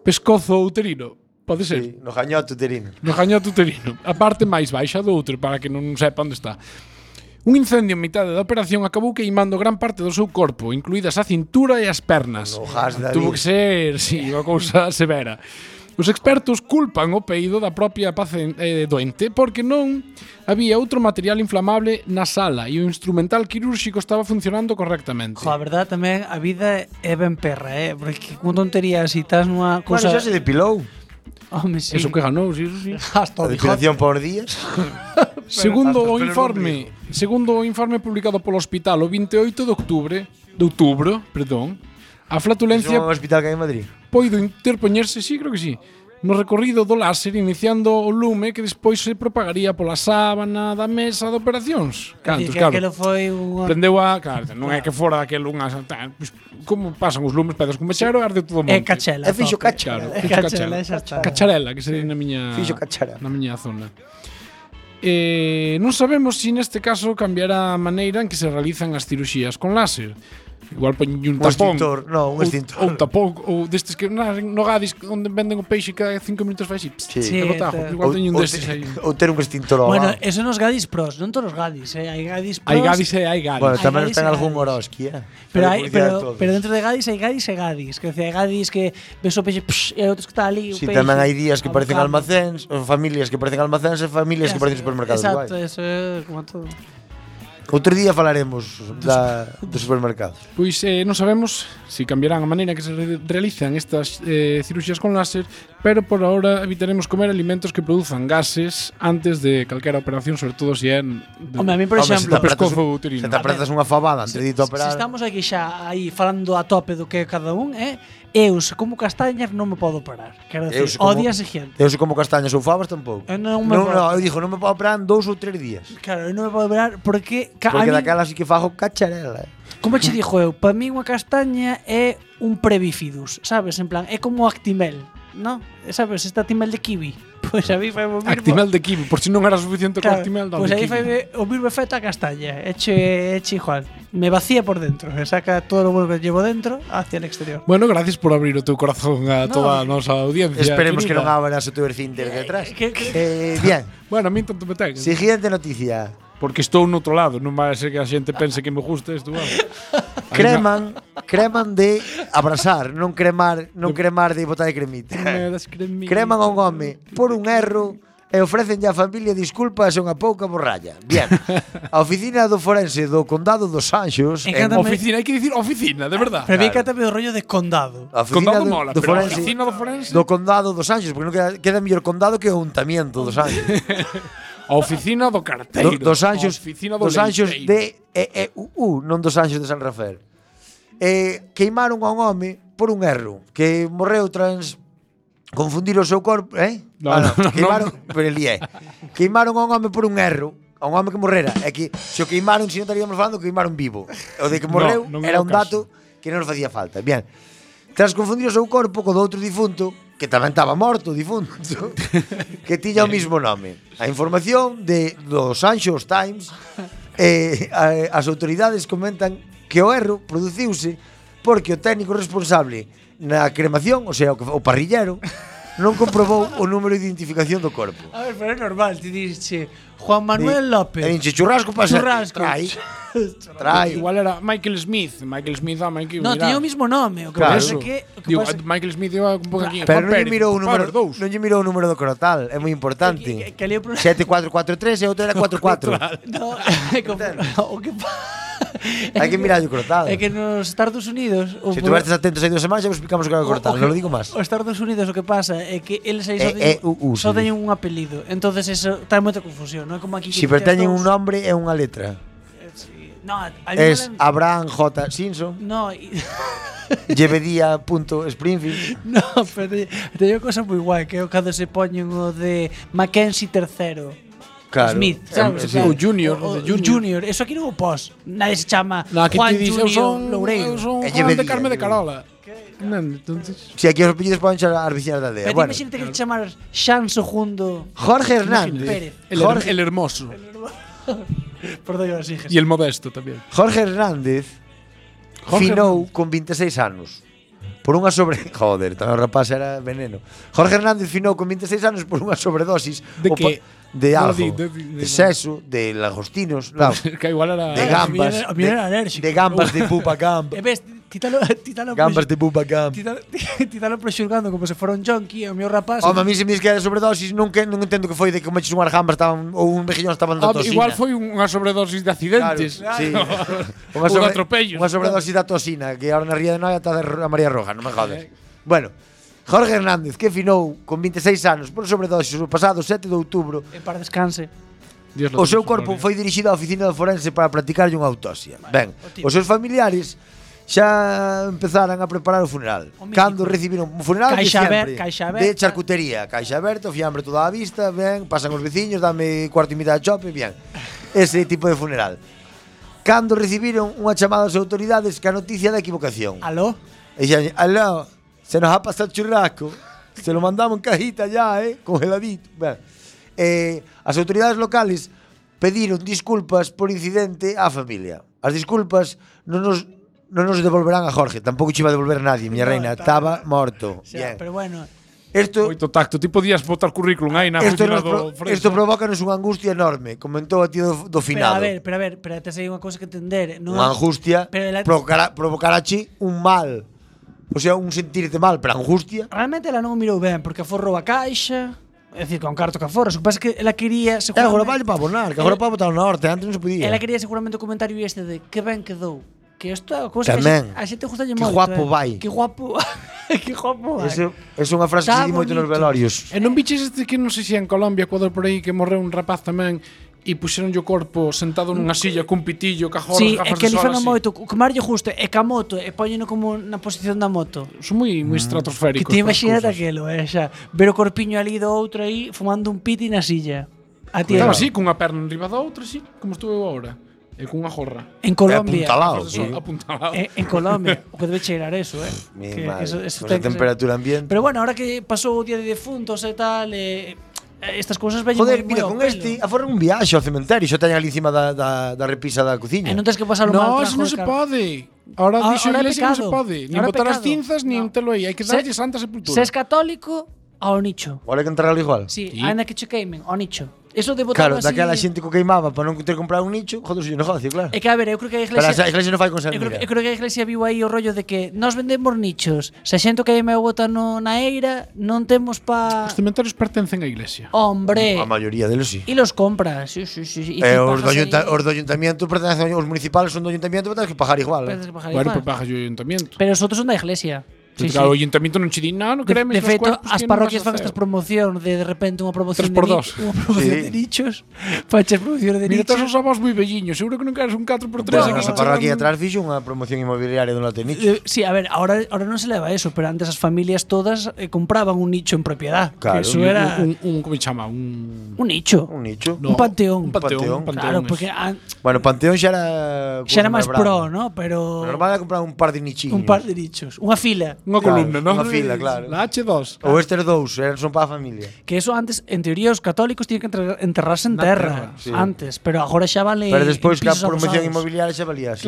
G: pescozo uterino. Pode ser.
D: Sí, no gañoto terino.
G: No gañoto uterino, a parte máis baixa do útero para que non sepa onde está. Un incendio en mitade da operación acabou queimando gran parte do seu corpo, incluídas a cintura e as pernas.
D: No gas, David.
G: Tuvo que ser, si, sí, unha cousa *laughs* severa. Os expertos culpan o peido da propia pacen, eh, doente porque non había outro material inflamable na sala e o instrumental quirúrxico estaba funcionando correctamente.
A: Jo, a verdad, tamén a vida é ben perra, eh? Porque con tontería, si estás nunha
D: Bueno,
A: cousa...
D: xa se depilou.
A: Home, sí.
G: Eso que ganou, si, eso sí.
D: A
A: Hasta o Dijon.
D: depilación por días.
G: Segundo
D: Pero
G: o
D: hasta
G: informe, segundo o informe publicado polo hospital o 28 de octubre, de outubro, perdón, a
D: Iso É un
G: flatulencia
D: hospital que hai en Madrid.
G: poido interpoñerse, sí, creo que sí, no recorrido do láser iniciando o lume que despois se propagaría pola sábana da mesa de operacións.
A: Dicir
G: Cantos,
A: que aquilo
G: claro.
A: foi un...
G: Prendeu a, claro, non é que fora daquel unha, tal, pois, como pasan os lumes, pedas con mechero, arde todo o monte.
A: É cachela.
D: É fixo
A: tope.
D: cachela.
A: É
G: fixo
A: cachela, xa Eh, está.
G: Cacharela, que se di na miña
D: Fixo cachara.
G: na miña zona. Eh, non sabemos se neste caso cambiará a maneira en que se realizan as cirurxías con láser. Igual poñenlle un
D: Un
G: tapón.
D: extintor, no, un
G: ou-
D: extintor.
G: Ou un tapón, ou destes que na- en Nogadis onde venden o peixe cada 5 minutos fai así. Pss,
D: Sí.
A: Sí,
G: e botajo.
A: tal.
G: Igual teño un
D: ou,
G: destes aí.
D: te- *laughs* ou ter un extintor ao
A: Bueno, eh,
D: lado.
A: eso nos gadis pros, non todos os gadis, eh? Hai gadis pros.
G: Hai gadis e hai gadis.
D: Bueno,
A: Hay
D: tamén
A: gadis
D: ten
A: e
D: algún
A: gadis.
D: Oroski, eh.
A: Pero,
D: Para publicidade
A: hai,
D: a
A: pero,
D: todos.
A: pero dentro de gadis hai gadis e gadis. Que decía, hai gadis que ves o peixe psh, e hai outros que está ali. o
D: Si
A: peixe,
D: tamén hai días que parecen
A: abocando.
D: almacéns, ou familias que parecen almacéns e familias que parecen supermercados.
A: Exacto, eh.
D: guai.
A: eso é como todo.
D: Outro día falaremos da, dos supermercados.
G: Pois eh, non sabemos se cambiarán a maneira que se re- realizan estas eh, cirurxías con láser, pero por ahora evitaremos comer alimentos que produzan gases antes de calquera operación, sobre todo se é en- de-
A: Home, a mí, por
D: Home, se
A: exemplo,
D: te apretas
G: pescozo
D: un-
G: uterino.
D: Se te apretas unha fabada antes de irte a
A: se
D: operar.
A: estamos aquí xa aí falando a tope do que é cada un, eh? Eu, se como castañas, non me podo parar. Quero
D: Eu se
A: decir,
D: como-
A: o día siguiente.
D: Eu se como castañas ou fabas tampouco.
A: Eu non me
D: non,
A: podo.
D: non, eu dixo, non me podo operar en dous ou tres días.
A: Claro, eu non me podo parar porque... ca- a
D: Porque
A: min-
D: daquela sí que fago cacharela.
A: Como che dixo eu, para mí unha castaña é un prebifidus, sabes? En plan, é como o actimel, ¿no? Sabes, este actimel de kiwi. *laughs* Pois a mí fai o mismo.
G: Actimel de kiwi, por si non era suficiente claro,
A: Claro, pues
G: con Actimel da
A: pois
G: de
A: aí
G: kiwi.
A: fai o mismo efecto a castaña. Eche, eche igual. Me vacía por dentro, me saca todo lo bueno que llevo dentro hacia el exterior.
G: Bueno, gracias por abrir o teu corazón
A: No.
G: a
A: eh,
G: toda a nosa audiencia.
D: Esperemos que
G: querida.
D: non abras o teu esfínter detrás.
A: que- que-
D: Eh, bien,
G: Bueno, a mí tanto me ten.
D: siguiente noticia.
G: Porque estou no outro lado, non vai ser que a xente pense que me gusta isto.
D: *laughs*
G: Vale.
D: Creman, creman de abrasar, non cremar, non cremar de botar de cremita. Creman a un home por un erro e ofrecenlle á familia disculpas e unha pouca borralla. Bien. A oficina do forense do condado dos Anxos en
A: Encántame.
G: Oficina, hai que dicir oficina, de verdad.
A: Pero vi
D: Ah, claro. Ah.
A: que tamén o rollo de condado.
D: A oficina
G: Condado
D: do,
G: mola,
D: do
G: pero
D: forense
G: oficina do forense. *laughs*
D: do condado dos Anxos, porque non queda, queda mellor condado que o ayuntamiento dos Anxos.
G: A oficina do carteiro.
D: Do, dos anxos,
G: A oficina do
D: dos anxos de
G: leiteiro.
D: e, e, u, non dos anxos de San Rafael. Eh, queimaron a un home por un erro, que morreu trans confundir o seu corpo, eh?
G: No, no, no,
D: queimaron,
G: no.
D: pero el é. Queimaron a un home por un erro, a un home que morrera. É que se o queimaron, se non estaríamos falando, queimaron vivo. O de que
G: No,
D: morreu
G: non era
D: era
G: o
D: un
G: caso.
D: dato que non nos facía falta. Bien. Tras confundir o seu corpo co do outro difunto, que tamén estaba morto o
G: *laughs*
D: difunto, que tiña o mismo nome. A información de dos Anxos Times eh, a- as autoridades comentan que o erro produciuse porque o técnico responsable na cremación, o sea, o, que- o parrillero, non comprobou o número de identificación do corpo.
A: A ver, pero é normal, ti dixe Juan Manuel López.
D: E dinche, churrasco pasa.
A: Churrasco.
D: Trai. Trai.
G: Ah, Igual era Michael Smith. Michael Smith, ah, Michael
A: No,
G: mira.
A: tiña o mismo nome, o que
D: Claro.
A: claro.
G: Eso.
A: pasa é que o que
G: Digo,
D: *laughs*
A: pasa
G: Michael Smith iba un pouco aquí.
D: Pero
G: Juan
D: non lle
G: Pérez,
D: mirou o
G: Juan
D: número,
G: Pérez dous.
D: non lle mirou o número do crotal, é moi
A: que,
D: importante.
A: que ali o problema
D: 7443 e outro era
A: *laughs*
D: 44. *laughs*
A: No, é que o que pa-
D: Hai
A: *laughs*
D: que mirallo crotado.
A: É que nos Estados Unidos o
D: Se
A: pro-
D: tuvertes atentos aí dúas semanas xa vos explicamos o que era o crotal, non lo digo
G: *laughs*
D: máis.
A: Os Estados Unidos o que pasa é que eles aí só
D: E- e-
A: teñen,
D: u- u,
A: só
D: sí.
A: teñen un apelido. Entonces eso está moita confusión, non é como aquí
D: Si
A: que
D: pero
A: tes
D: teñen
A: dous-
D: un nombre e unha letra.
A: eh, sí. No, hai unha
D: Es
A: lan-
D: Abraham J. Simpson,
A: No, i-
G: *laughs*
D: Llevedía.springfield.
A: *laughs* no, pero teño cosa moi guai que é o cando se poñen o de Mackenzie III.
D: Claro.
A: Smith,
D: Eh,
A: sabes?
D: eh,
A: O
D: sí.
A: sea,
G: O Junior,
A: o,
G: o de
A: o Junior.
G: Junior.
A: Eso aquí non o pos. Nadie se chama
G: No, aquí
A: Juan
G: te dice, eu
A: Junior
G: son,
A: Loureiro.
G: eu son
D: E
G: Juan de
D: llevedía,
G: Carmen de
D: llevedía.
G: Carola. Non, entonces...
D: Si aquí os apellidos poden xa as veciñas da aldea.
A: Pero
D: Bueno,
A: bueno, imagínate que te chamar Xan Segundo
D: Jorge Hernández.
A: Pérez.
G: El,
D: Jorge.
G: her el hermoso.
A: Perdón, eu así.
G: Y el modesto también. *laughs*
D: Jorge Hernández
G: Jorge
D: finou con 26 anos por unha sobre... *laughs* Joder, tamén o rapaz era veneno. Jorge Hernández finou con 26 anos por unha sobredosis
G: De
D: o pa-
G: que?
D: De
G: No,
D: algo,
G: di-
D: de,
G: de- de- de-
D: sexo, de langostinos, claro,
G: que igual era...
D: de
A: Ah,
D: gambas,
A: a mí era- a mí
D: de,
A: era alérxico.
D: de gambas de pupa
G: *laughs*
D: gamba,
A: E ves, títalo, títalo,
D: gambas de pupa gamba.
A: títalo, *laughs* títalo prexurgando como se fora un jonqui e o meu rapaz.
D: Home, a mí se me dis que era sobredosis, nunca, non entendo que foi de que comeches unhas gambas estaban, ou un mexillón estaban da
G: Ah,
D: toxina.
G: igual foi unha sobredosis de accidentes.
D: sí.
G: Un
D: *laughs*
G: atropello.
D: Unha sobredosis da toxina, que ahora na Ría de Noia está de a María Roja, non me jodes. Bueno, Jorge Hernández, que finou con 26 anos por sobredosis o pasado 7 de outubro,
A: E para descanse.
G: *laughs* Dios
D: o
G: lo
D: seu
G: tenga en su
D: corpo
G: gloria.
D: foi dirixido á oficina do forense para practicarlle unha autopsia. Ben,
A: o tipo.
D: os seus familiares xa empezaran a preparar o funeral.
A: O médico.
D: Cando recibiron un funeral de
A: Caixa
D: fiambre,
A: aberta, caixa
D: de
A: aberta.
D: charcutería, caixa aberta, o fiambre toda a vista, ben, pasan os veciños, dame cuarto e mitad de chope, bien. Ese tipo de funeral. Cando recibiron unha chamada ás autoridades que a noticia da equivocación.
A: Aló?
D: E xa, aló, se nos ha pasado el churrasco. Se lo mandamos en cajita ya, eh, congeladito. Ben. Eh, as autoridades locales pediron disculpas por incidente á familia. As disculpas non nos non nos devolverán a Jorge, tampouco che iba a devolver nadie, miña
A: No,
D: reina,
A: estaba-
D: estaba morto.
A: O sea,
D: Bien.
A: pero bueno,
D: Esto
G: Moito tacto. Ti podías botar currículum aí na
D: esto,
G: oficina
D: nos pro,
G: do Frense.
D: esto provócanos unha angustia enorme, comentou a ti do, do
A: pero a
D: finado.
A: ver, pero a ver, pero tes aí unha cousa que entender, eh, non?
D: unha angustia
A: Pero la-
D: provocará, provocará un mal. O sea, un sentirte mal, pero angustia.
A: Realmente ela non o mirou ben porque forrou a caixa, é dicir, con carto que aforra, o que pasa é que ela
D: É,
A: quería
D: agora
A: seguramente-
D: vale para abonar, que agora para botar o norte, antes non se podía.
A: Eh, Ela quería seguramente o comentario este de que ben quedou. Que isto é a cousa
D: Tamén.
A: que a xente, a xente gusta
D: Que guapo vai.
A: Que guapo *laughs* que guapo vai.
D: Eso, eso é unha frase que
A: Está
D: se di moito nos
A: bonito.
D: velorios.
G: E non biches este que non sei se é en Colombia, Ecuador por aí, que morreu un rapaz tamén e puxeronlle o corpo sentado nunha silla cun pitillo, cajón,
A: Sí, é
G: gafas
A: que ali
G: de sol
A: fan
G: así.
A: moito, o que marlle justo é ca moto, e poñeno como na posición da moto.
G: Son moi moi
A: Que
G: estratosféricos.
A: te
G: para as
A: imaginas
G: cousas.
A: daquelo, eh, xa. Ver o corpiño ali do outro aí fumando un piti na silla. A ti eh,
G: Estaba
A: en
G: así, cunha perna enriba da outra, así, como estuve eu agora. E cunha jorra.
A: Colombia. Eh,
D: Apuntalado.
G: Gafas de sol apuntalado.
A: En, en Colombia, *laughs* o que debe cheirar eso, eh.
D: Mi
A: que
D: madre,
A: eso, eso
D: con esa
A: ten que ser.
D: temperatura ambiente.
A: Pero bueno, ahora que pasou o día de defuntos e tal, eh, estas cousas veñen
D: Joder,
A: moi- moi
D: mira,
A: ao
D: con
A: pelo.
D: este aforran un viaxe ao cementerio, xa teñen ali encima da, da, da repisa da
A: E
D: cociña.
A: non tens Eh, que pasar o mal trajo
G: No, eso non
A: de
G: se
A: cara.
G: pode. Ahora
A: Ahora- Ah,
G: dixo
A: ahora é
G: Iglesias que non se
A: pecado.
G: pode. Nin
A: Ahora é
G: botar as
A: pecado.
G: cinzas, nin
A: No.
G: telo aí. Hai que
A: Se-
G: darlle santa sepultura.
A: Se es católico, ao nicho.
D: Vale que enterralo igual.
A: Sí,
G: Sí.
A: ainda que che queimen, ao nicho. Eso de botar
D: Claro,
A: así...
D: daquela xente que o queimaba para non ter comprado un nicho, joder, se negocio, claro.
A: É que, a ver, eu creo que a
D: Pero a
A: iglesia...
D: iglesia non fai con
A: Eu creo,
D: salmira.
A: eu creo que a iglesia viu aí o rollo de que nós vendemos nichos, se a xente que me bota no, na eira, non temos pa...
G: Os cementerios pertencen á iglesia.
A: Oh, Hombre,
D: A maioría deles sí.
A: e los compras. Sí, sí, sí, sí. E
D: Eh,
A: ti
D: os, do
A: pagas
D: ayunta,
A: aí-
D: os do ayuntamiento pertenecen aos municipais, son do ayuntamiento, pero tens que pagar igual. Eh.
A: pagas que pagar
G: Bueno,
A: igual.
G: pues baja yo ayuntamiento.
A: Pero os outros son da iglesia.
G: Sí,
F: Sí,
G: claro,
F: sí.
G: o Ayuntamiento non che di, "No, non
A: De,
G: queremos
A: de
G: os
A: feito,
G: cuerpos
A: as
G: que non
A: parroquias
G: vas a
A: fan
G: hacer".
A: estas promocións de de repente unha promoción
G: Tres por
A: de,
G: dos.
A: ni- *laughs* unha promoción
D: Sí.
A: de nichos. Faches promoción de
G: Mira,
A: nichos.
G: todos os avós moi velliños, seguro que non queres un 4x3
A: Bueno,
G: aquí.
D: Esa
A: esa
D: parroquia atrás fixo unha promoción inmobiliaria dun lote de nicho.
A: Eh, sí, a ver, ahora, ahora non se leva eso, pero antes as familias todas eh, compraban un nicho en propiedad.
D: Claro.
A: que eso era un,
G: un, un, un como chama, un
A: nicho.
D: Un nicho.
A: No. Un panteón.
G: Un
D: Panteón.
G: panteón, un panteón,
A: claro,
G: eso.
A: porque an-
D: Bueno, Panteón xa era...
A: xa era máis pro,
D: ¿no?
A: ¿no? Pero
D: Normal era comprar un par de nichiños.
A: un par de nichos, unha fila.
G: Unha
D: Claro,
G: columna, non?
D: unha fila, claro.
G: La H2.
D: Ou estes dous, eran son para a familia.
A: Que eso antes, en teoría, os católicos tiñan que enterra- enterrarse en terra,
D: sí.
A: antes, pero agora xa vale
D: Pero despois
A: en
D: que a
A: pisos
D: promoción
A: adosados.
D: inmobiliaria xa valía así.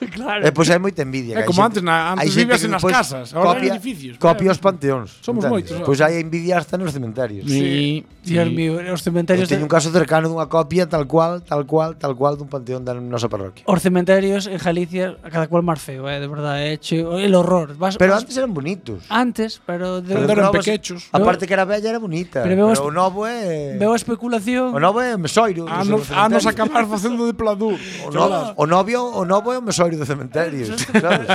A: *laughs* claro.
D: E pois hai moita envidia. que
G: É
D: hai
G: Eh, como
D: xente-
G: antes, na- antes
D: hai xente
G: vivías
D: que
G: en as
D: despois
G: casas, agora hai
D: copia-
G: edificios,
D: Copia
G: claro.
D: os panteóns.
G: Somos
D: entendes?
G: moitos,
D: Pois
G: ahora.
D: hai envidia hasta nos cementerios.
G: Sí.
A: Dios
G: sí.
A: mío, os
D: Eu
A: cementerios
D: teño un
A: de,
D: caso cercano dunha copia tal cual, tal cual, tal cual dun panteón da nosa parroquia.
A: os cementerios en Galicia, a cada cual máis feo, eh, de verdade, é cheo, el horror. Vas,
D: Pero
A: vas-
D: antes eran bonitos.
A: antes, pero de,
G: Pero
D: Pero
G: eran
D: probas-
G: pequechos.
D: A parte que era bella era bonita.
A: Pero
D: Pero,
A: vemos-
D: o novo é
A: veo a especulación.
D: o novo é o mesoiro. do
G: A nos, a
D: cementerio.
G: nos acabar facendo de pladur.
D: *laughs* O novo, o novio, o novo é o mesoiro do
A: *laughs*
D: cementerio, sabes?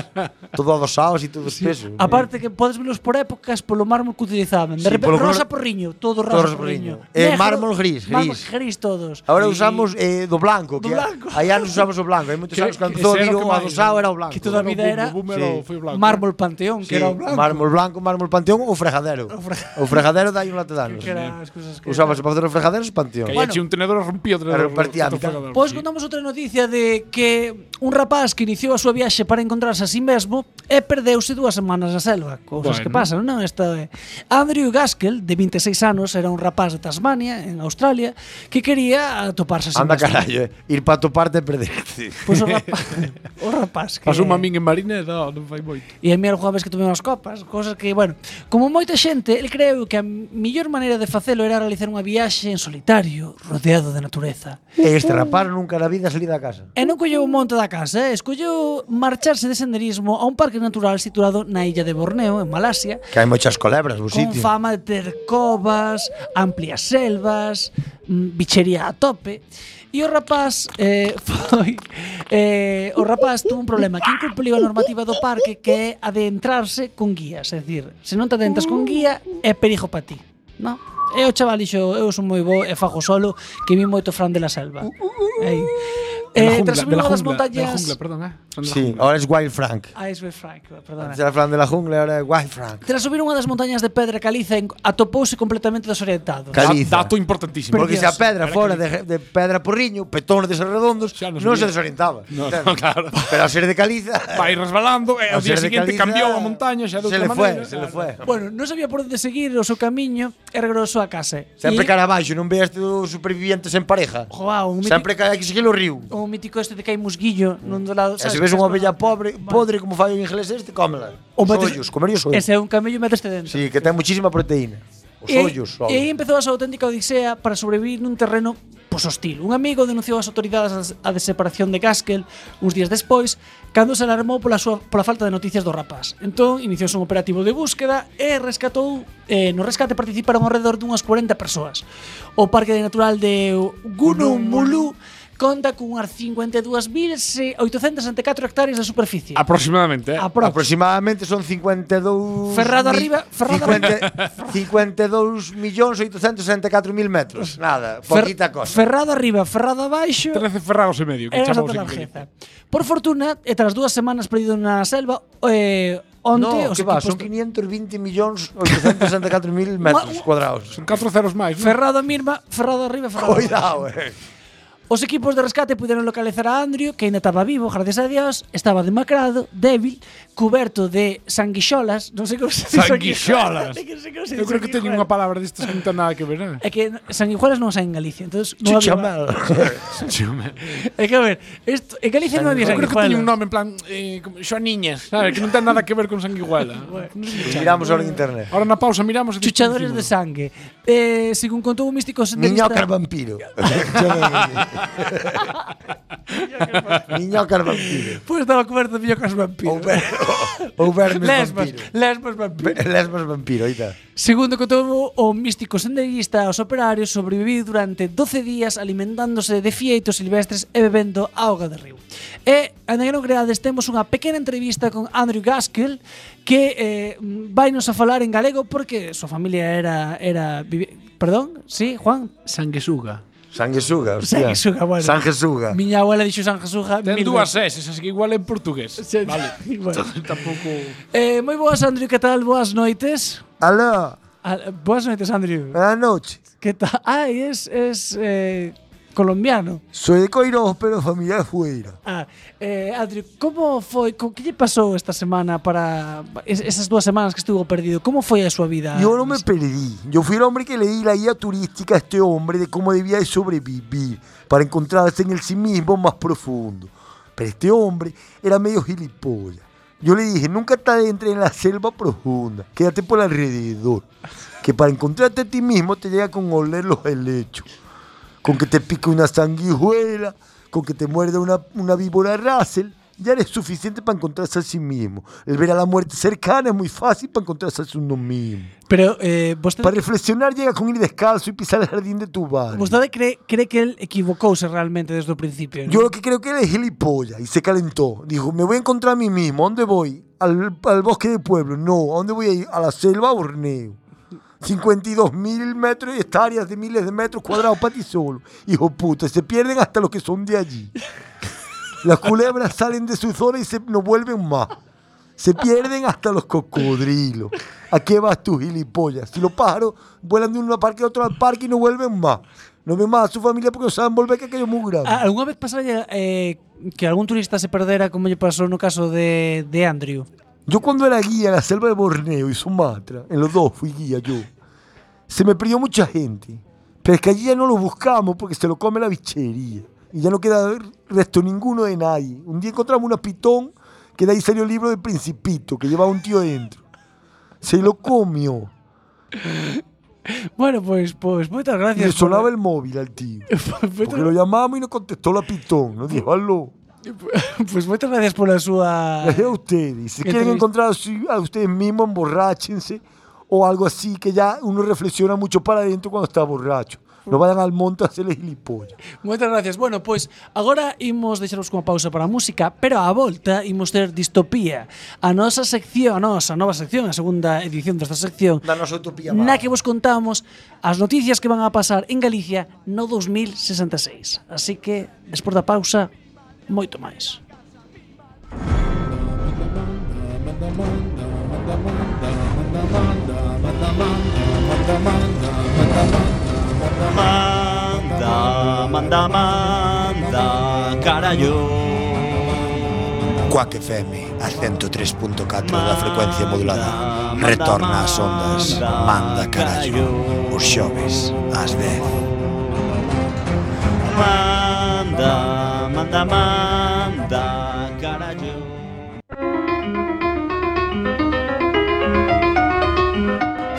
D: Todo adosados e todo espeso.
A: Aparte que podes velos por épocas polo mármol que utilizaban. De
D: Sí,
A: repente
D: polo
A: rosa
D: color-
A: por riño, todo rosa,
D: todo rosa
A: por
D: por
A: riño.
D: riño. Eh, mármol gris,
A: Mármol
D: gris.
A: gris todos.
D: Ahora
A: Y-
D: usamos eh, do blanco,
A: Do
D: que
A: blanco.
D: aí anos usamos o blanco, hai moitos
G: Que-
D: anos cando
G: que
D: todo
G: ese era
D: diro
G: o que máis,
D: adosado
G: ¿no?
D: era o blanco.
A: Que toda a
G: Era un
A: vida
G: boom,
A: era
G: boom, boom,
D: sí.
G: era o foi blanco.
A: mármol panteón,
D: Sí,
A: que era o blanco.
D: Mármol blanco, mármol panteón ou fregadero.
A: O fre-
D: O fregadero dai un late de anos.
A: que eran as cousas que-
D: Usabas para facer os fregaderos os
G: Que
D: panteóns.
G: aí
A: Bueno.
G: eche un tenedor rompía o
D: Pero
G: tenedor.
D: partía a
G: Esto
D: mitad.
G: fue
A: Pois
G: sí.
A: contamos outra noticia de que un rapaz que iniciou a súa viaxe para encontrarse a sí mesmo e perdeuse dúas semanas na selva. Cousas
G: Bueno.
A: que pasan, non? Esta é. Andrew Gaskell, de 26 anos, era un rapaz de Tasmania, en Australia, que quería atoparse a sí
D: Anda
A: mesmo.
D: carallo, eh. ir para toparte e perderte.
A: Pois o rapaz, *laughs* o rapaz que...
G: Pasou a min en Marineda, non fai moito.
A: E a mí algunha vez que tomei unhas copas, cosas que, bueno, como moita xente, el creu que a mellor maneira de facelo era realizar unha viaxe en solitario, rodeado de natureza.
D: E este rapaz nunca na vida salí da casa.
A: E non colleu o monte da casa, eh? escolleu marcharse de senderismo a un parque natural situado na illa de Borneo, en Malasia,
D: Que hai moitas colebras no
A: con
D: sitio.
A: fama de ter covas, amplias selvas, mm, bichería a tope. E o rapaz eh, *laughs* foi eh, o rapaz tuvo un problema que incumpliu a normativa do parque que é a de entrarse con guías, é dicir, se non te adentras con guía é perigo para ti, non? E o chaval dixo, eu son moi bo e fago solo que vi moito fran de la selva. Ei. Eh, tras subir unha das
G: De la
A: montañas...
G: jungla, perdón, eh. Son de la
D: Sí,
G: jungla.
D: ahora es Wild Frank.
A: Ah, iso é Frank, perdona.
D: Antes era Fran de la jungla, ahora é Wild Frank.
A: Tras subir unha das montañas de pedra caliza en- atopouse completamente desorientado.
D: Ca- Caliza.
G: Da- Dato importantísimo.
D: Porque se a
A: Dios,
D: pedra fora de, de pedra porriño, petones deses redondos,
G: Xa
D: non
G: non
D: se
G: subía.
D: desorientaba.
G: No,
D: Entende?
G: no, claro.
D: *laughs* Pero a ser de
G: *laughs*
D: caliza...
G: Vai resbalando
D: Eh,
G: e
D: ao
G: ao día
D: ser de
G: siguiente
D: caliza,
G: cambiou a montaña xa de
D: Se
G: outra
D: le fue,
G: maneira.
D: se le fue.
A: Bueno, non sabía por onde seguir o seu camiño e regresou a casa.
D: Sempre
A: E-
D: cara abaixo, non veas tú supervivientes en pareja.
A: Joao, un mítico,
D: Sempre cara que seguir o río.
G: Oh,
A: o mítico este de que hai musguillo nun do
D: E
A: lado. sabes,
D: se ves
A: que
D: unha
A: estás
D: ovella
A: con-
D: pobre, podre como fai o inglés este, cómela. Os
A: metes-
D: ollos, comer os ollos.
A: Ese é un camello e meteste dentro.
D: Sí, que ten muchísima proteína. Os
A: E-
D: ollos,
A: E aí
D: ollos.
A: empezou a súa auténtica odisea para sobrevivir nun terreno pois hostil. Un amigo denunciou ás autoridades a de separación de Gaskell uns días despois, cando se alarmou pola súa pola falta de noticias do rapaz. Entón, iniciouse un operativo de búsqueda e rescatou eh, no rescate participaron ao redor dunhas 40 persoas. O Parque de Natural de Gununmulú conta con unhas 52.874 hectáreas de superficie.
G: Aproximadamente, eh.
A: Aprox.
D: Aproximadamente son 52
A: Ferrado
D: mil-
A: arriba,
D: *laughs*
A: ferrado
D: 50, 52 millóns 864 mil metros. Nada,
A: Fer-
D: poquita cosa.
A: Ferrado arriba, ferrado abaixo.
G: 13 ferrados e medio que
A: Era
G: chamamos
A: Santa
G: en inglés.
A: Largeza. Por fortuna, e tras dúas semanas perdido na selva, eh, onte
D: no,
A: os
D: que va,
A: equipos
D: son
A: do-
D: 520 millóns 864
A: *laughs*
D: mil metros
A: Ua-
D: cuadrados.
A: *laughs*
G: Son 4 ceros máis. non?
A: Ferrado Mirma, Ferrado arriba, Ferrado. abaixo.
D: Cuidado, eh.
A: Os equipos de rescate puderon localizar a Andrew, que ainda estaba vivo, gracias a Dios, estaba demacrado, débil, cuberto de sanguixolas, non sei como se dice *laughs* Non
G: Sanguixolas.
A: sei como se
G: Eu creo que
A: dice
G: teño unha palabra destas que non ten nada que ver, eh.
A: É que sanguijuelas non saen en Galicia, entonces non había...
D: Chichamel.
A: *laughs* É que a ver, isto, en Galicia non había
G: Eu creo que
A: sanguijuelas.
G: teño un nome en plan eh, como Xoaniñas, sabe, que non ten nada que ver con sanguiguela.
D: Miramos
A: mm,
D: ahora en internet.
G: Ahora na pausa miramos e
A: *laughs* Chuchadores de sangue. Eh, según contou un místico
D: Miñoca vampiro. Miñocas
A: *laughs*
D: vampiro.
A: Pois estaba coberto de miñocas
D: Ou,
A: vampiros.
D: *laughs* ver, ou vermes
A: Lesbas,
D: vampiro.
A: lesbas vampiros.
D: Lesbos vampiro, oita.
A: Segundo contou o místico sendeirista aos operarios sobreviviu durante 12 días alimentándose de fieitos silvestres e bebendo auga de río. E, en que non creades, temos unha pequena entrevista con Andrew Gaskell que eh, vainos a falar en galego porque a súa familia era... era vivi- Perdón? Sí, Juan?
G: Sanguesuga.
D: Sanguesuga, hostia.
A: Sanguesuga, bueno.
D: Sanguesuga.
A: Miña abuela dixo San Jesuja
G: Ten
A: mil
G: dúas
A: veces.
G: S, así que igual en portugués. Vale.
A: eh. *laughs* Bueno.
G: Tampouco...
A: Eh, moi boas, Andrew, que tal? Boas noites.
D: Aló,
A: Ah, boas noites, Andrew.
D: buenas noches.
A: Que tal? Ai, es, es eh, colombiano.
D: Soy de Coirós, pero familia de Fueira.
A: Ah, eh, Andrew, como foi, co, que lle pasou esta semana para es, esas dúas semanas que estuvo perdido? Como foi a súa vida?
D: Yo no me perdí. Yo fui el hombre que leí la guía turística a este hombre de cómo debía de sobrevivir para encontrarse en el sí mismo más profundo. Pero este hombre era medio gilipollas. Yo le dije, nunca te adentres en la selva profunda, quédate por alrededor, que para encontrarte a ti mismo te llega con oler los helechos, con que te pique una sanguijuela, con que te muerde una, una víbora Russell, ya eres suficiente para encontrarse a sí mismo. El ver a la muerte cercana es muy fácil para encontrarse a uno mismo.
A: Pero eh, vostede,
D: Para reflexionar llega con ir descalzo y pisar el jardín de tu barrio.
A: vostede cree, cree que el equivocouse realmente desde o principio?
D: Yo lo que creo que él es gilipollas y se calentó. Dijo, me voy a encontrar a mí mismo. ¿A dónde voy? Al, al bosque de pueblo. No, ¿a dónde voy a ir? A la selva Borneo. 52 mil metros de hectáreas de miles de metros cuadrados para ti solo. Hijo puta, se pierden hasta los que son de allí. Las culebras salen de su zona y se, no vuelven más. Se pierden hasta los cocodrilos. ¿A qué vas tú, gilipollas? Si los pájaros vuelan de un parque a otro al parque y no vuelven más. No ven más a su familia porque no saben volver que aquello es muy grande.
A: Ah, Algunha vez pasaría eh, que algún turista se perdera como lle pasou no caso de, de Andrew?
D: Yo cuando era guía en la selva de Borneo y Sumatra, en los dos fui guía yo, se me perdió mucha gente. Pero es que allí ya no lo buscamos porque se lo come la bichería. Y ya no queda resto ninguno de nadie. Un día encontramos una pitón que de ahí salió el libro del principito que llevaba un tío dentro. Se lo comió.
A: Bueno, pois, pois, moitas
D: Y le
A: gracias. por-
D: sonaba el móvil al tío.
A: *laughs*
D: Porque lo llamamos y nos contestó la pitón. Nos dijo, aló.
A: Pois moitas gracias pola súa
D: *laughs* Gracias a ustedes. Si
A: Qué
D: quieren
A: triste.
D: encontrar a su- a ustedes mismos, emborráchense o algo así, que ya uno reflexiona mucho para adentro cuando está borracho.
A: Mm.
D: No vayan al monte a hacerle gilipollas.
A: Moitas gracias. Bueno, pois agora imos deixaros cunha pausa para a música, pero á volta imos ter distopía. A nosa sección, a nosa nova sección, a segunda edición desta sección,
D: Danos utopía.
A: na que vos contamos as noticias que van a pasar en Galicia no 2066. Así que, despois da pausa, moito máis.
B: Manda, manda, manda, carallo.
D: Quack FM, a 103.4
B: da frecuencia modulada. Retorna ás ondas. Manda, carallo. Os
D: xoves, ás 10.
B: Manda, manda, manda, carallo.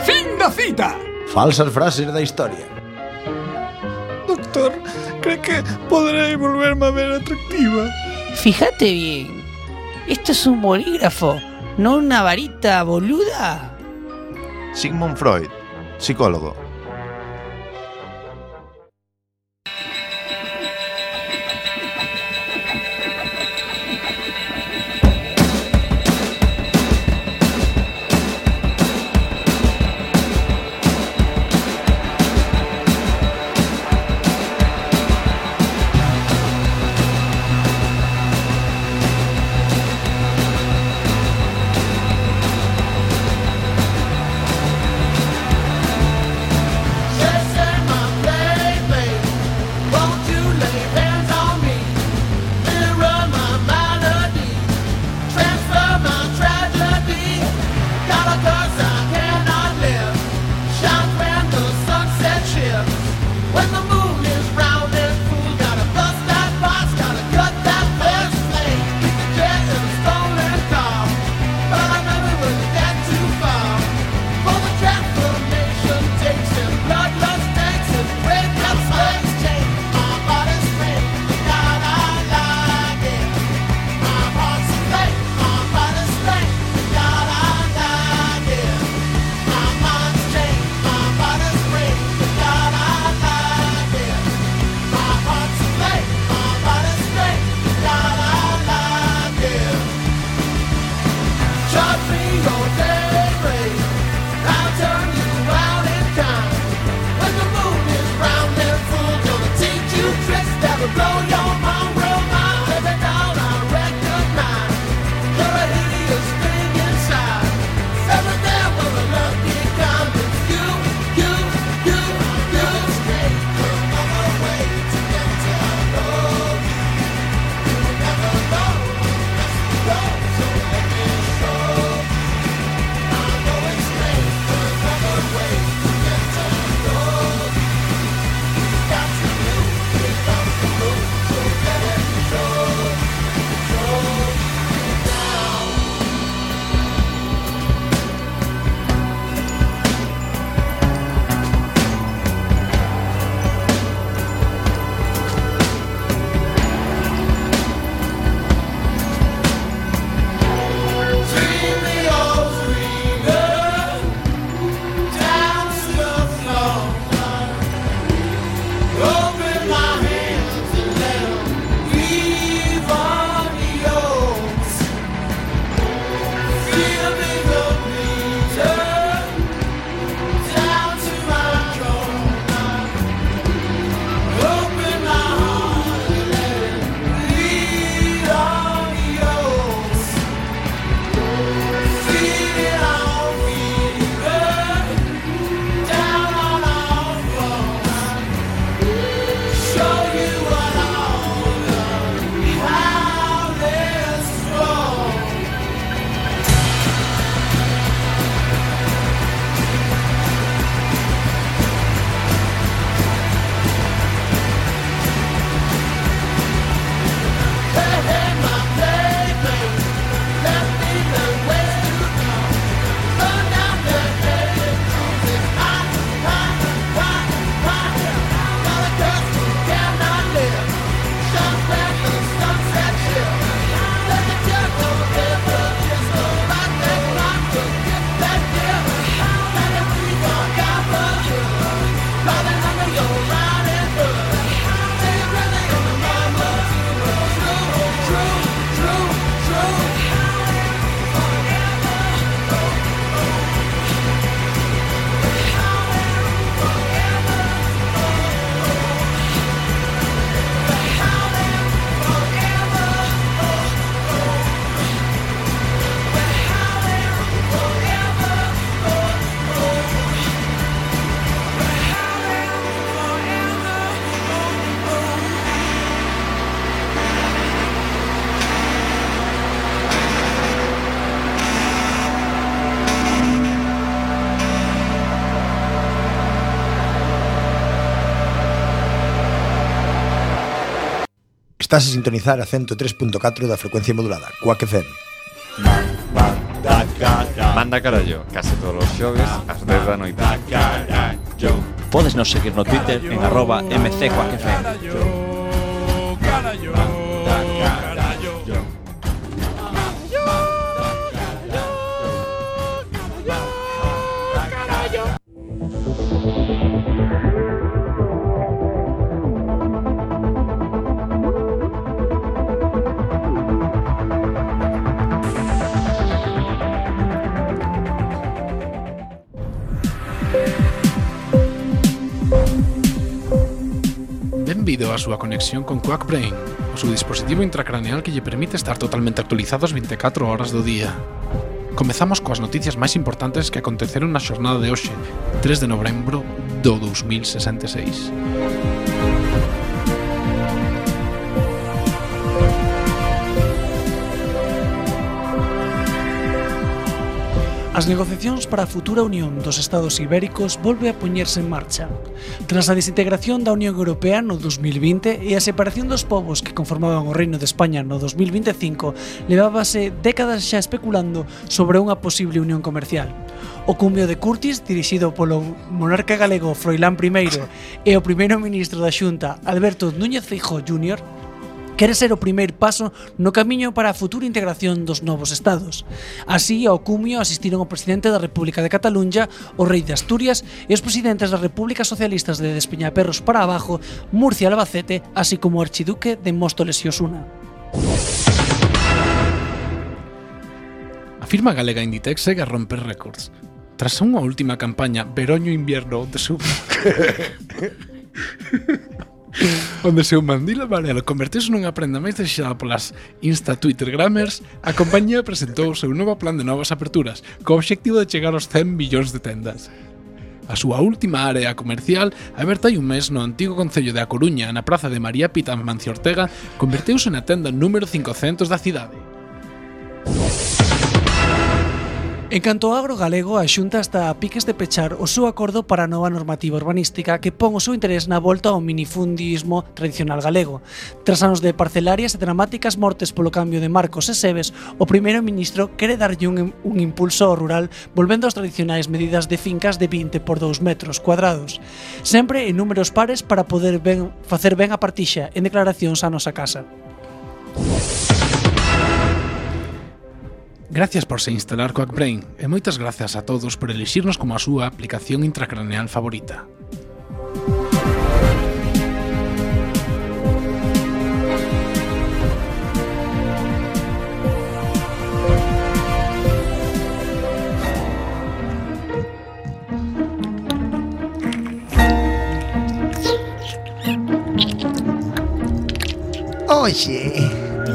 F: Fin da cita.
D: Falsas frases da historia.
B: Doctor, cree que podrei volverme a ver atractiva?
H: Fíjate bien, esto es un bolígrafo, no una varita boluda.
I: Sigmund Freud, psicólogo.
B: Manda,
D: Estás a sintonizar a 103.4 da frecuencia modulada, Quack FM.
J: Manda carallo case todos os xoves ás 10 da noite. Podes nos seguir no Twitter en arroba mcquacfm.
G: Benvido á súa conexión con Quackbrain, o seu dispositivo intracraneal que lle permite estar totalmente actualizados 24 horas do día. Comezamos coas noticias máis importantes que aconteceron na xornada de hoxe, 3 de novembro do 2066.
A: As negociacións para a futura unión dos Estados Ibéricos volve a poñerse en marcha. Tras a desintegración da Unión Europea no 2020 e a separación dos povos que conformaban o Reino de España no 2025, levábase décadas xa especulando sobre unha posible unión comercial. O cumio de Curtis, dirixido polo monarca galego Froilán I e o primeiro ministro da Xunta, Alberto Núñez Feijóo Jr., quere ser o primeiro paso no camiño para a futura integración dos novos estados. Así, ao cumio asistiron o presidente da República de Cataluña, o rei de Asturias e os presidentes das Repúblicas Socialistas de Despeñaperros para abajo, Murcia e Albacete, así como o archiduque de Móstoles e Osuna.
G: A firma galega Inditex segue a romper récords. Tras unha última campaña, Veroño Invierno, onde seu... *laughs* onde seu mandil amarelo converteuse nunha prenda máis desexada polas Insta-Twitter Grammers, a compañía presentou o seu novo plan de novas aperturas, co obxectivo de chegar aos 100 millóns de tendas. A súa última área comercial, aberta hai un mes no antigo Concello de A Coruña, na praza de María Pita Mancio Ortega, converteuse na tenda número 500 da cidade.
A: En canto ao agro galego, a Xunta está a piques de pechar o seu acordo para a nova normativa urbanística que pon o seu interés na volta ao minifundismo tradicional galego. Tras anos de parcelarias e dramáticas mortes polo cambio de marcos e sebes, o primeiro ministro quere darlle un, un impulso ao rural volvendo ás tradicionais medidas de fincas de 20 por 2 metros cuadrados, sempre en números pares para poder ben, facer ben a partixa en declaracións a nosa casa.
G: Gracias por se instalar Quackbrain e moitas grazas a todos por elixirnos como a súa aplicación intracraneal favorita.
D: Oxe,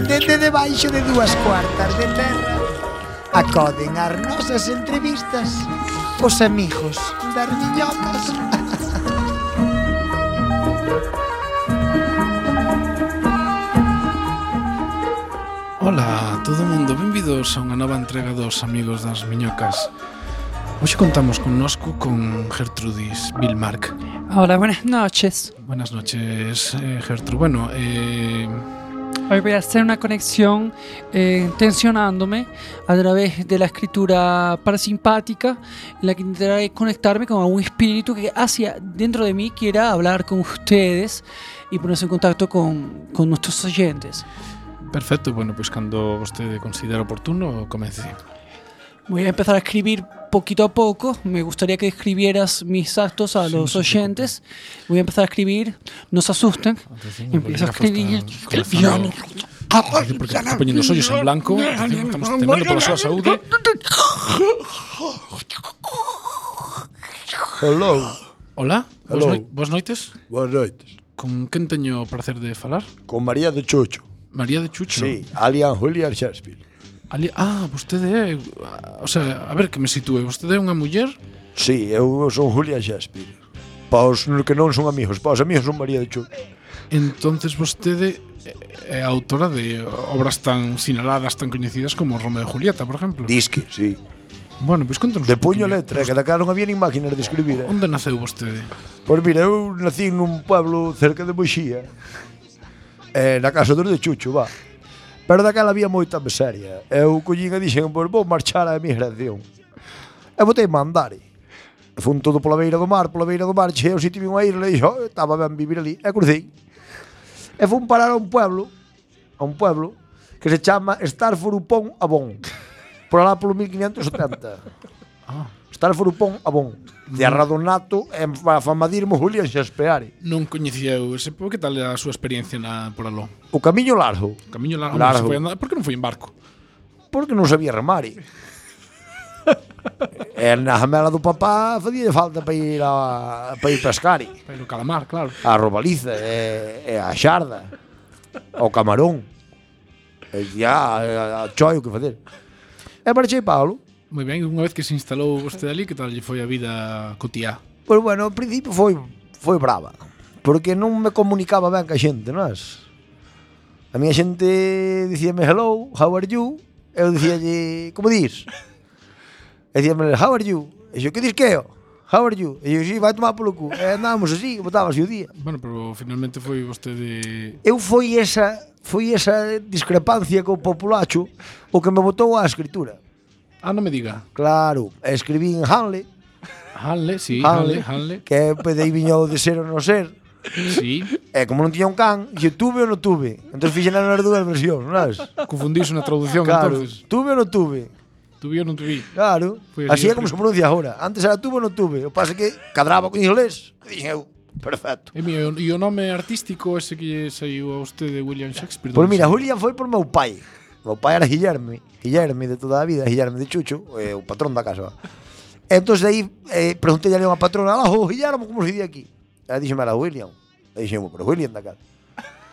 D: dende debaixo de dúas cuartas de terra acoden as nosas entrevistas os amigos das miñocas.
G: Ola a todo mundo, benvidos a unha nova entrega dos Amigos das Miñocas. Hoxe contamos connosco con Gertrudis Vilmark.
K: Hola, buenas noches.
G: Buenas noches, eh, Gertrude. Bueno, eh,
K: Hoy voy a hacer una conexión eh, tensionándome a través de la escritura parasimpática, en la que intentaré conectarme con algún espíritu que hacia dentro de mí quiera hablar con ustedes y ponerse en contacto con, con nuestros oyentes.
G: perfecto, bueno, pois cando vostede considera oportuno, comece.
K: Voy a empezar a escribir poquito a poco. Me gustaría que escribieras mis actos a los oyentes. Voy a empezar a escribir. No se asusten. Empiezo a escribir.
G: Eh, Porque está poñendo os ollos en blanco, atención, estamos temendo pola súa saúde.
L: Hello.
G: Hola, boas,
L: Hello.
G: noi boas noites.
L: Boas noites.
G: Con quen teño o placer de falar?
L: Con María de Chucho.
G: María de Chucho?
L: Sí, alias Julian Shakespeare.
G: Ali ah, vostede é... O sea, a ver que me sitúe. Vostede é unha muller?
L: Sí, eu son Julian Shakespeare. Para os que non son amigos, para os amigos son María de Chucho.
G: Entonces vostede é é autora de obras tan sinaladas, tan coñecidas como Romeo e Julieta, por exemplo.
L: Disque, sí.
G: Bueno, pois contanos.
L: De puño e letra, que da cara non había nin máquinas de escribir. Eh.
G: Onde naceu vostede?
L: Pois mira, eu nací nun pueblo cerca de Moxía.
D: eh, na casa dos de Chucho, va. Pero daquela había moita miseria. Eu collín e dixen, pois vou marchar á emigración. E botei mandare. Fun todo pola beira do mar, pola beira do mar, cheo si tive unha isla e dixo, "Oh, estaba ben vivir ali. E crucei. E fun parar a un pueblo, a un pueblo, que se chama Starford Upon Avon. Por alá polo 1570. Starford Upon Avon. ah, De Arradonato, en Famadirmo Julián Xaspeare.
G: Non coñeceu ese po, que tal era a súa experiencia na por aló?
D: O camiño largo.
G: Camiño largo,
D: Largo.
G: largo. Foi andar, por que non foi en barco?
D: Porque non sabía remar. eh. e na jamela do papá facía falta para ir a, para ir pescar. eh.
G: Pero calamar, claro.
D: A robaliza e, e a xarda. Ao camarón. E ya, a, a choio que facer. E marchei Pablo.
G: Moi ben, unha vez que se instalou vostede ali, que tal lle foi a vida cotiá?
D: Pois bueno, ao principio foi foi brava, porque non me comunicaba ben ca xente, nas. A miña xente dicíame hello, how are you? Eu dicíalle, como dis? E dicíame, how are you? E yo, que dis que eu? How are you? E eu, si, vai tomar polo cu. E andábamos así, botábase o día.
G: Bueno, pero finalmente foi vostede...
D: Eu foi esa foi esa discrepancia co populacho o que me botou á escritura.
G: Ah, non me diga.
D: Claro, escribín Hanley,
G: Hanle, sí,
D: Hanley,
G: Hanle, Hanle.
D: que pedei viñou de ser ou non ser.
G: Sí.
D: E como non tiña un can, dixo tuve ou non tuve. Entón fixen as dúas versións, non sabes?
G: Confundíse na traducción,
D: claro,
G: entonces.
D: Tuve ou non tuve.
G: Tuve ou non tuve.
D: Claro.
G: Foi
D: Así
G: así
D: é como se pronuncia agora. Antes era tuve ou non tuve. O pasa é que cadraba con inglés. E dixen eu, perfecto.
G: E, mi, e o nome artístico ese que lle saiu a vostede de William Shakespeare?
D: Pois
G: Por
D: mira, Julián foi por meu pai. Meu pai era Guillerme, Guillerme de toda a vida, Guillerme de Chucho, eh, o patrón da casa. va. Entón aí eh, preguntei a unha patrona, "Alá, o Guillermo, como se di aquí?" Ela dixeme, "Era William." E dixen, "Pero William da casa."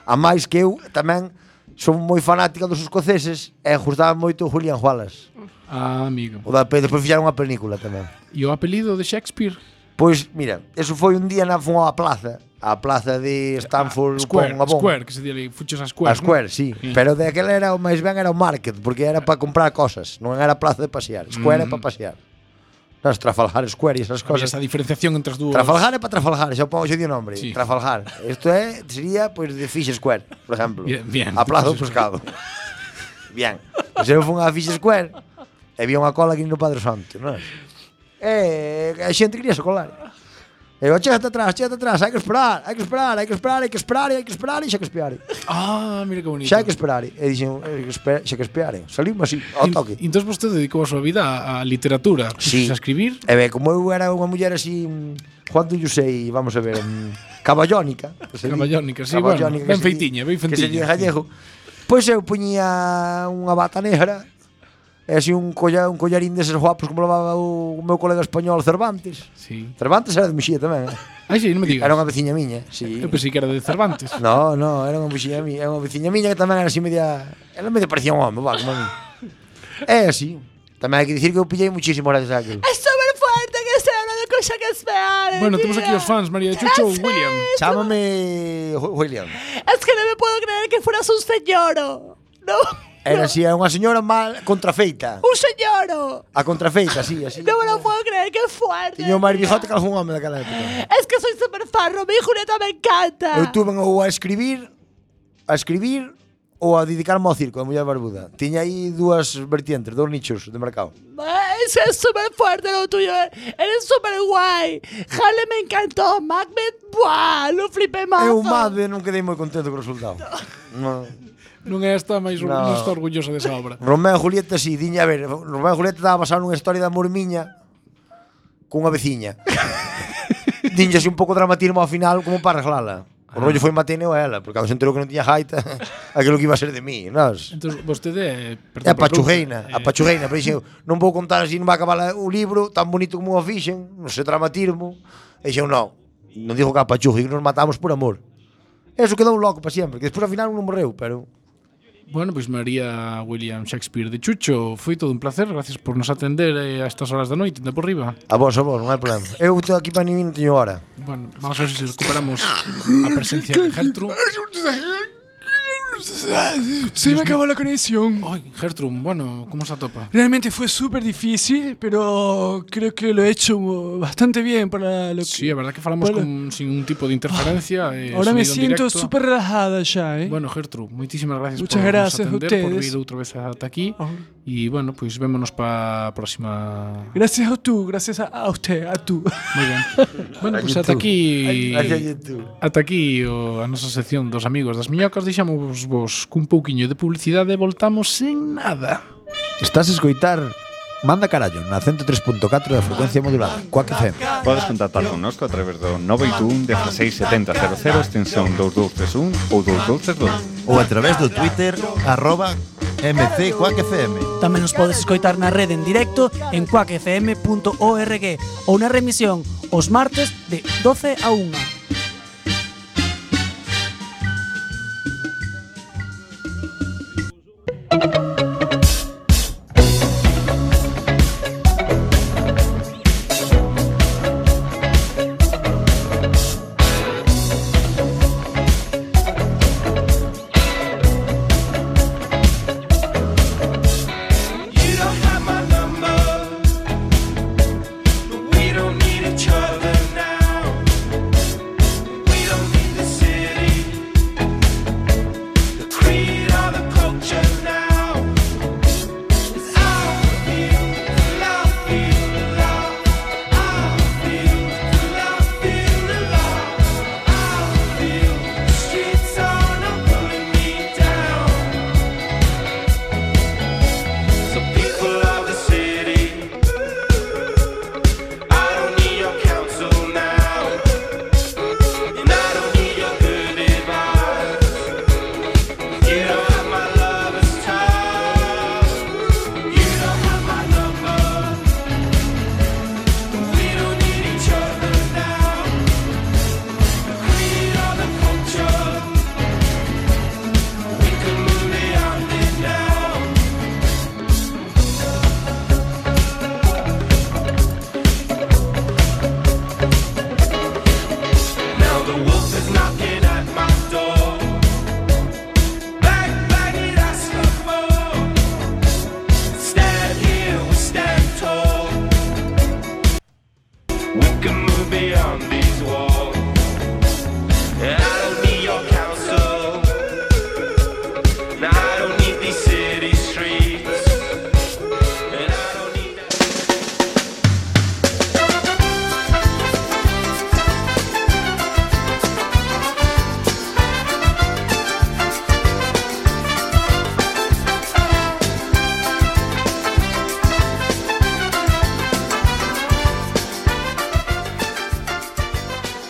D: A máis que eu tamén son moi fanática dos escoceses e gustaba moito o Julian Wallace.
G: Ah, amigo.
D: O da, pe- despois fixaron unha película tamén.
G: E o apelido de Shakespeare?
D: Pois, mira, eso foi un día na fun á plaza, á plaza de Stanford
G: Ah, Square,
D: upon Avon.
G: Square, que se di ali, fuches a
D: A
G: Square.
D: Square,
G: non?
D: sí. Pero daquela era o máis ben era o market, porque era para comprar cosas, non era plaza de pasear. Square é
G: Mm.
D: para pasear. Nas Trafalgar Square e esas
G: Había
D: cosas.
G: esa diferenciación entre as dúas.
D: Trafalgar é para Trafalgar, xa pongo xe o nombre.
G: Sí.
D: Trafalgar. Isto é, sería, pois, de Fish Square, por exemplo.
G: Bien, bien.
D: A Plaza do Pescado. bien. Pois eu fun a Fish Square e vi unha cola aquí no Padre Santo, non é? Eh, a xente quería se colar. Eu, chégate atrás, chégate atrás, hai que esperar, hai que esperar, hai que esperar, hai que esperar, hai que esperar, e xa que esperar.
G: Ah, mira que bonito.
D: Xa hai que esperar. E dixen, "Eh, que espe- xa que esperare. Salimos así, ao toque.
G: E entón vostede dedicou a súa vida á- á literatura.
D: Sí.
G: Puxos A escribir.
D: E ben, como eu era unha muller así, mm, Juan do Yusei, vamos a ver, mm, caballónica. que se di.
G: Caballónica, sí, bueno, ben
D: que se di-
G: feitiña, ben
D: Que se di en
G: feitiña.
D: gallego. Pois eu puñía unha bata negra, e así un, colla, un collarín deses guapos como levaba o, o meu colega español Cervantes.
G: Sí.
D: Cervantes era de Mexía tamén. eh.
G: Ah, sí, non me digas.
D: Era unha veciña miña, sí.
G: Eu pensei que era de Cervantes.
D: No, no, era unha veciña miña, era unha veciña miña que tamén era así media, ela medio parecía un home, va, como a mí. É así. Tamén hai que dicir que eu pillei muchísimo gracias a aquilo.
M: Es súper fuerte que se habla de cosas que esperar.
G: Bueno, temos aquí os fans, María de Chucho ou William.
D: Chámame Ju- William.
M: Es que no me puedo creer que fueras un señoro. No, *laughs*
D: Era así, era unha señora mal contrafeita.
M: un señoro.
D: A contrafeita, así, así.
M: No me lo puedo creer, qué fuerte.
D: Tiña o máis bigote que algún home daquela época.
M: Es que soy súper farro, mi Julieta me encanta.
D: Eu tuve ou a escribir, a escribir ou a dedicarme ao circo, a muller barbuda. Tiña aí dúas vertientes, dous nichos de mercado.
M: Es, es súper fuerte lo tuyo, eh. eres súper guay. Jale me encantó, Macbeth, ¡buah! Lo flipé más.
D: Eu madre non quedei moi contento co resultado. No.
G: Non é esta, máis
D: No.
G: non estou orgullosa desa obra.
D: Romeo e Julieta si, diña, a ver, Romeo e Julieta estaba basado nunha historia de amor miña cunha veciña. Dinlle así un pouco dramatismo ao final como para arreglala. O rollo foi mateneo a ela, porque cando se enterou que non tiña jaita, aquilo que iba a ser de mí, nos.
G: Entón, vostede... eh,
D: É
G: perdón,
D: a pachujeina,
G: perdón,
D: a
G: eh,
D: pachujeina, pero dixen, non vou contar así, non vai acabar la- o libro tan bonito como o fixen, non se dramatismo. E dixen, non, non digo que a pachuja, que nos matamos por amor. Eso quedou loco para sempre, que despois ao final non morreu, pero...
G: eh, Bueno, pois María William Shakespeare de Chucho, foi todo un placer, gracias por nos atender eh, a estas horas da noite, de por riba.
D: A vos, a vos, non hai problema. Eu estou aquí para nin teño hora.
G: Bueno, vamos a ver se recuperamos a presencia de Gertrude.
N: Se me acabó la conexión.
G: Ay, Gertrude, bueno, ¿cómo se atopa?
N: Realmente fue súper difícil, pero creo que lo he hecho bastante bien para lo que...
G: Sí, es verdad que falamos
N: Bueno.
G: con- sin un tipo de interferencia. eh,
N: Ahora me
G: sonido en
N: siento
G: directo.
N: súper relajada ya, ¿eh?
G: Bueno, Gertrude, muchísimas gracias
N: Muchas
G: por
N: gracias a
G: nos atender, por
N: ustedes. Oh.
G: vir outra vez ata aquí. Y bueno, pues vémonos para a próxima...
N: Gracias a tú, gracias a, a usted, a tú.
G: Muy bien. Bueno, pues ata aquí... Ata aquí o, a nosa sección dos amigos das miñocas Deixamos vos cun pouquiño de publicidade e voltamos sen nada
D: Estás a escoitar Manda Carallo na 103.4 da frecuencia modulada Quack FM
O: Podes contactar connosco a través do 921 167000 extensión 2231 ou 2232
I: ou a través do Twitter arroba MC Quack FM.
A: Tamén nos podes escoitar na rede en directo en cuacfm.org ou na remisión os martes de 12 a 1.
F: You don't have my number. We don't need each other now. We don't need the city, the creed or the culture now. 'Cause I don't feel the love, feel the love. I don't feel the love, feel the love. I don't feel the streets are not pulling me down. So people of the city, I don't need your counsel now, and I don't need your good advice. You don't have my lover's touch. You don't have my number. We don't need each other now. The creed or the culture, we can move beyond it now. Now the wolf is knocking at my door. Bang, bang, it asks for more. Stand here, we stand tall. We can move beyond these walls. And I don't need your counsel. And I don't need these city streets. And I don't need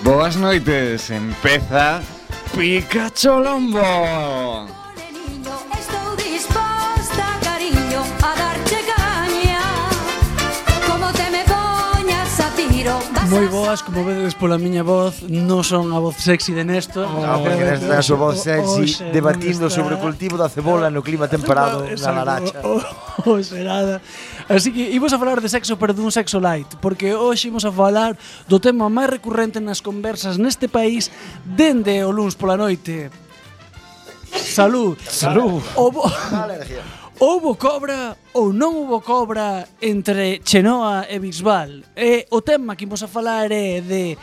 P: Boas noites, empeza Pikachu Lombo.
Q: Estou disposta, cariño, a darte caña Como te me poñas a tiro
A: Moi boas, como vedes pola miña voz, non son a voz sexy de Néstor.
D: No, Ah, porque nesta a súa voz sexy debatindo sobre o cultivo da cebola no clima temperado na Laracha.
A: *laughs* Hoxe nada. oh, Así que imos a falar de sexo, pero dun sexo light, porque hoxe imos a falar do tema máis recurrente nas conversas neste país dende o luns pola noite. Salud.
D: Salud.
A: Houbo, *laughs* houbo cobra ou non houbo cobra entre Chenoa e Bisbal. E o tema que imos a falar é de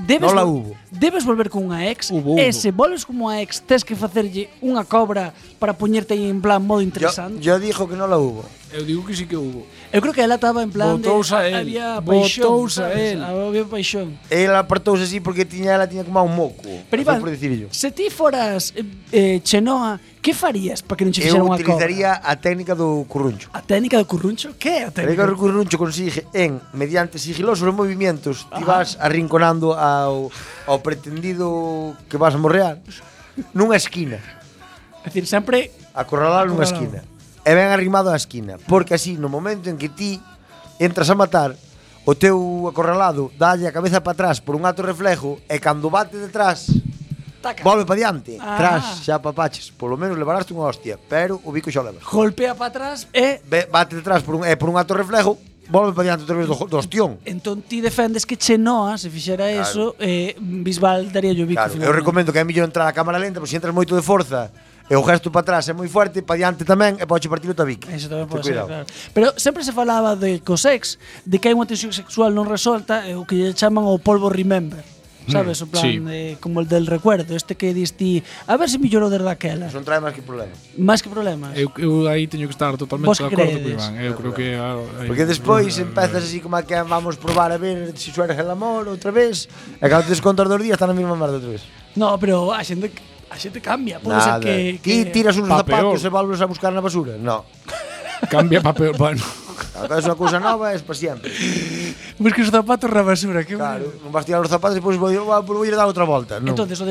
A: Debes,
D: Non la
A: vol-
D: hubo.
A: debes volver cunha ex E
D: hubo.
A: se volves cunha ex Tes que facerlle unha cobra Para poñerte aí en plan modo interesante
D: Yo dijo que non la hubo.
G: Eu digo que sí que hubo.
A: Eu creo que ela estaba en plan
D: Botouse a
A: de,
D: él.
A: Había paixón
D: Botouse a
A: sabes?
D: él.
A: Había paixón
D: Ela apartouse así porque tiña ela tiña como un moco.
A: Pero
D: Pero Iván,
A: Iván,
D: por decirlo.
A: se ti foras eh, eh, Chenoa Que farías para que non che
D: Eu
A: fixera unha cobra?
D: utilizaría a técnica do curruncho.
A: A técnica do curruncho? Que é
D: A
A: a
D: técnica
A: técnica?
D: do curruncho consige en, mediante sigilosos movimentos, ti vas arrinconando ao, ao pretendido que vas morrear nunha esquina.
A: É dicir, sempre
D: acorralado nunha esquina.
A: acorralado.
D: E ben arrimado á esquina, porque así no momento en que ti entras a matar, o teu acorralado dalle a cabeza para atrás por un acto reflejo e cando bate detrás
A: Taca.
D: Volve para diante,
A: Ah.
D: tras, xa papaches Por lo menos levaraste unha hostia, pero o bico xa o levas
A: Golpea para atrás e
D: Ve- Bate detrás por un, eh, por un acto reflejo Volve para diante outra vez do, jo- do hostión
A: Entón ti defendes que Chenoa Se fixera
D: Claro.
A: eso eh, Bisbal daría yo bico
D: Claro, eu
A: finalmente.
D: recomendo que é mellor entrar a cámara lenta, porque se entras moito de forza E o gesto para atrás é moi fuerte, para diante tamén, e podes partir o tabique.
A: Eso tamén
D: Ten
A: pode ser,
D: cuidado.
A: claro. Pero sempre se falaba de cosex, de que hai unha tensión sexual non resolta, e o que lle chaman o polvo remember.
D: Mm,
A: Sabes, o plan,
D: sí.
A: eh, como el del recuerdo, este que diste, a ver se mellorou desde aquela.
D: Non trae máis que problemas.
A: Máis que problemas.
G: Eu, eu aí teño que estar totalmente
A: Vos
G: de acordo
A: credes?
G: con Iván. Eu creo que... ah, aí-
D: Porque despois empezas así como a que vamos probar a ver se suerge el amor outra vez. E cando te descontas dos días, está na mesma merda outra vez.
A: No, pero a xente a xente cambia, pode ser
D: Nada.
A: Pois que, que
D: Ti tiras uns zapatos e volves a buscar na basura. No.
G: *laughs* Cambia pa peor, bueno.
D: Cando es unha cousa nova, es para sempre.
A: *laughs* Busques os zapatos na basura, que
D: Claro, non vas tirar os zapatos e depois vou, vou, vou ir dar outra volta. Non.
A: Entonces, o de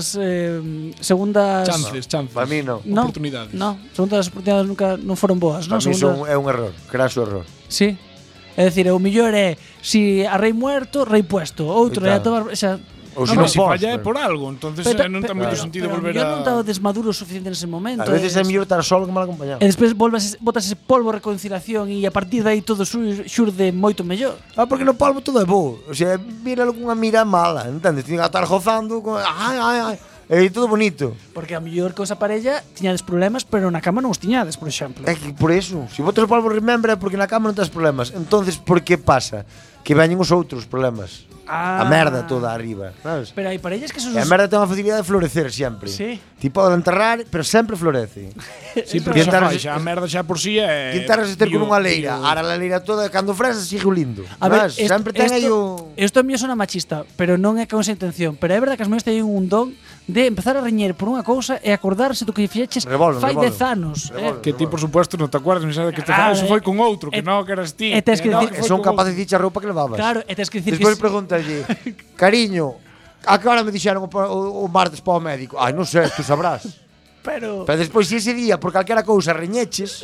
A: segundas eh, segundas
D: Chances, chances. Pa mí non.
A: No,
D: Oportunidades.
A: No, segundas oportunidades nunca non foron boas,
D: Para
A: non?
D: mí son,
A: Segundas.
D: é un error, craso error.
A: Sí. É dicir, o mellor é si a rei muerto, rei puesto, outro é
D: Coitado.
A: a tomar, xa
D: Ou
G: No,
D: si non
G: si
D: podes,
G: falla é
D: pero-
G: por algo, entonces eh, non ten moito sentido volver
A: Yo
G: a...
A: non estaba desmaduro o suficiente nese
D: A
A: momento.
D: veces é
A: es-
D: mellor estar solo que mal acompañado.
A: E despois volvas, botas ese polvo de reconciliación e a partir de aí todo sur- xurde moito mellor.
D: Ah, porque no palmo todo é bo. O sea, míralo cunha mira mala, entendes? Tiña que estar gozando con... Ai, ai, ai. E todo bonito.
A: Porque a mellor cousa parella tiñades problemas, pero na cama non os tiñades, por exemplo.
D: É que por eso, se botas o palmo remembra é porque na cama non tens problemas. Entonces, por que pasa? Que veñen os outros problemas.
A: Ah.
D: A merda toda arriba. Sabes?
A: Pero hai parellas que son
D: E a merda ten a facilidade de florecer sempre.
A: Sí.
D: Ti podes enterrar, pero sempre florece.
G: Sí, pero
D: Ti
G: xa,
D: enterras-
G: fai, xa a merda xa por si é...
D: ti enterras este con
G: Digo,
D: unha leira,
G: digo,
D: ara a leira toda, cando fresa sigue o lindo.
A: A ver,
D: Sabes? sempre ten aí o...
A: Isto a mí sona machista, pero non é con esa intención. Pero é verdade que as mulleres teñen un don de empezar a reñer por unha cousa e acordarse do que fixeches
G: Revolven,
A: fai
G: revolven.
A: 10 anos. eh.
G: Que ti, por supuesto, non te acuerdas, non sabes que te
A: Claro,
G: ah,
A: eh.
G: foi con outro, que
A: Eh,
G: non, que eras ti.
A: e tes que
G: non,
A: decir-
G: foi
D: Son
G: con
D: capaces de dicha roupa que levabas.
A: Claro, e tes que dicir
D: Despois
A: que
D: pregúntalle, cariño, a que hora me dixeron o, pa- o, o martes para o médico? Ai, non sei, tú sabrás.
A: Pero
D: Pero despois, se ese día, por calquera cousa, reñeches,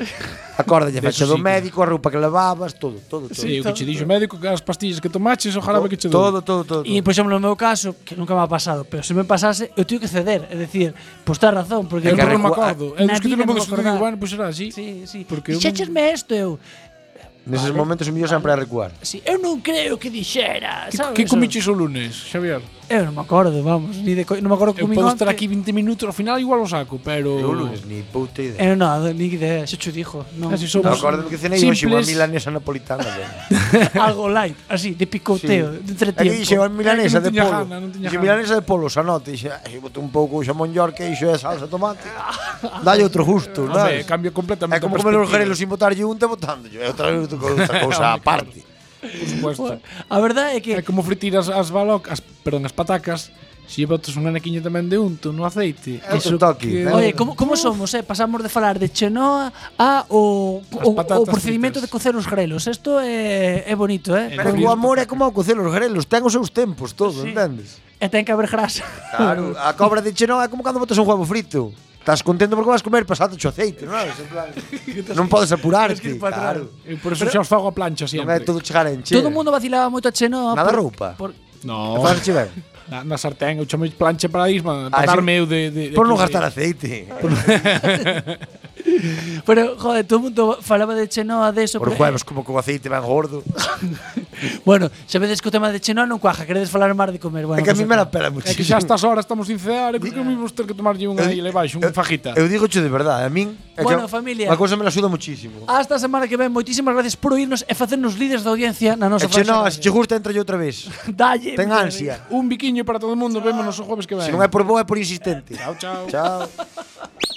D: acórdalle,
G: De
D: fecha do
G: eso sí que-
D: médico, a roupa que levabas, todo, todo, todo.
G: Sí, o que che dixo o médico, que as pastillas que tomaches, ojalá que che dou.
D: Todo, todo, todo.
A: E, por exemplo, no meu caso, que nunca me ha pasado, pero se me pasase, eu teño que ceder, é dicir, pois pues, tens razón, porque
G: Eu
A: eu
G: non me acordo. É dos que ti non me acordo, digo,
A: bueno,
G: pois será así.
A: Sí, sí.
G: Porque eu non-
A: Dixéchesme isto eu.
D: Neses momentos o mellor sempre é recuar.
A: Sí, eu non creo que dixera, sabes?
G: Que
A: Eso-
G: comiches o lunes, Xavier?
A: Eu non me acordo, vamos, ni de co- non me acordo que
G: Eu
A: comín
G: podo estar
A: onte.
G: aquí 20 minutos, ao final igual o saco, pero...
D: Eu lunes, ni puta idea.
G: Eh,
A: Eu non, Eh, ni idea, xa che dijo, non.
G: Ah, si
D: No,
G: somos-
D: acórdame que cenei hoxe unha
G: Simples.
D: milanesa napolitana.
G: *laughs*
D: ben.
A: *laughs* algo light, así, de picoteo, de entretiempo.
D: Aquí dixen a
G: Eh,
D: milanesa de polo. Dixen
A: milanesa.
D: milanesa de polo, sanote. Dixen, "Ai, bote un pouco xamón york e iso é salsa de tomate. Dalle outro gusto, sabes?
G: Hombre, cambia completamente
D: É como
G: a
D: comer os
G: perspectiva.
D: grelos sin botarlle un, te botando. É outra vez
G: *laughs*
D: outra cousa
G: Hombre,
D: aparte.
G: Por supuesto.
A: A verdade é que
G: é como fritir as, as baloc, as, perdón, as patacas, se botas unha naquiña tamén de unto no aceite.
D: É outro toque, eh.
A: Oye, como, como somos, eh? Pasamos de falar de chenoa a o, o, o
D: patatas
A: procedimento de cocer os grelos. Isto é, é bonito, eh?
D: Pero o amor é como ao cocer os grelos, ten os seus tempos todo,
A: Sí.
D: entendes?
A: E ten que haber grasa. *laughs*
D: Claro, ah, a cobra de chenoa é como cando botas un huevo frito. Estás contento porque vas comer pasado o aceite, non? En
A: *laughs*
D: plan, non podes apurarte, claro.
G: Eu por eso xa os fago a plancha
D: Non é
G: sempre.
D: todo chegar a encher.
A: Todo o mundo vacilaba moito a chenoa.
D: Nada
A: por-
D: roupa.
A: por-
G: No.
D: E faz che ben.
G: Na, na sartén, eu chamo plancha para ir, para
D: Ah,
G: darme
D: sí.
G: eu de... de, de
D: Por non
G: de-
D: gastar aceite.
A: Pero, joder, todo o mundo falaba de chenoa de eso.
D: Por
A: pero- eh,
D: jueves, como co aceite van gordo.
A: Bueno, xa vedes que o tema de chenoa non cuaja, queredes falar máis de comer. Bueno,
D: É que a
A: pues
D: mí me la pela
G: É que
D: muchísimo.
G: xa estas horas estamos sin cear, eu creo que vimos ter que tomarlle unha
D: Eu-
G: aí, le baixo, unha fajita.
D: Eu digo de verdade, a min é
A: Bueno,
D: que
A: familia. Ah,
D: A cousa me la axuda muchísimo.
A: Hasta a semana que ven, moitísimas gracias por oírnos e facernos líderes da audiencia na nosa
D: E che,
A: franxa.
D: no, se che gusta, entra yo outra
A: *laughs*
D: vez.
A: Dalle.
D: Ten
A: mira,
D: ansia.
G: Un biquiño para todo o mundo, vémonos o jueves que ven.
D: Se non é por boa, é por insistente.
G: Chao, chao.
D: Chao.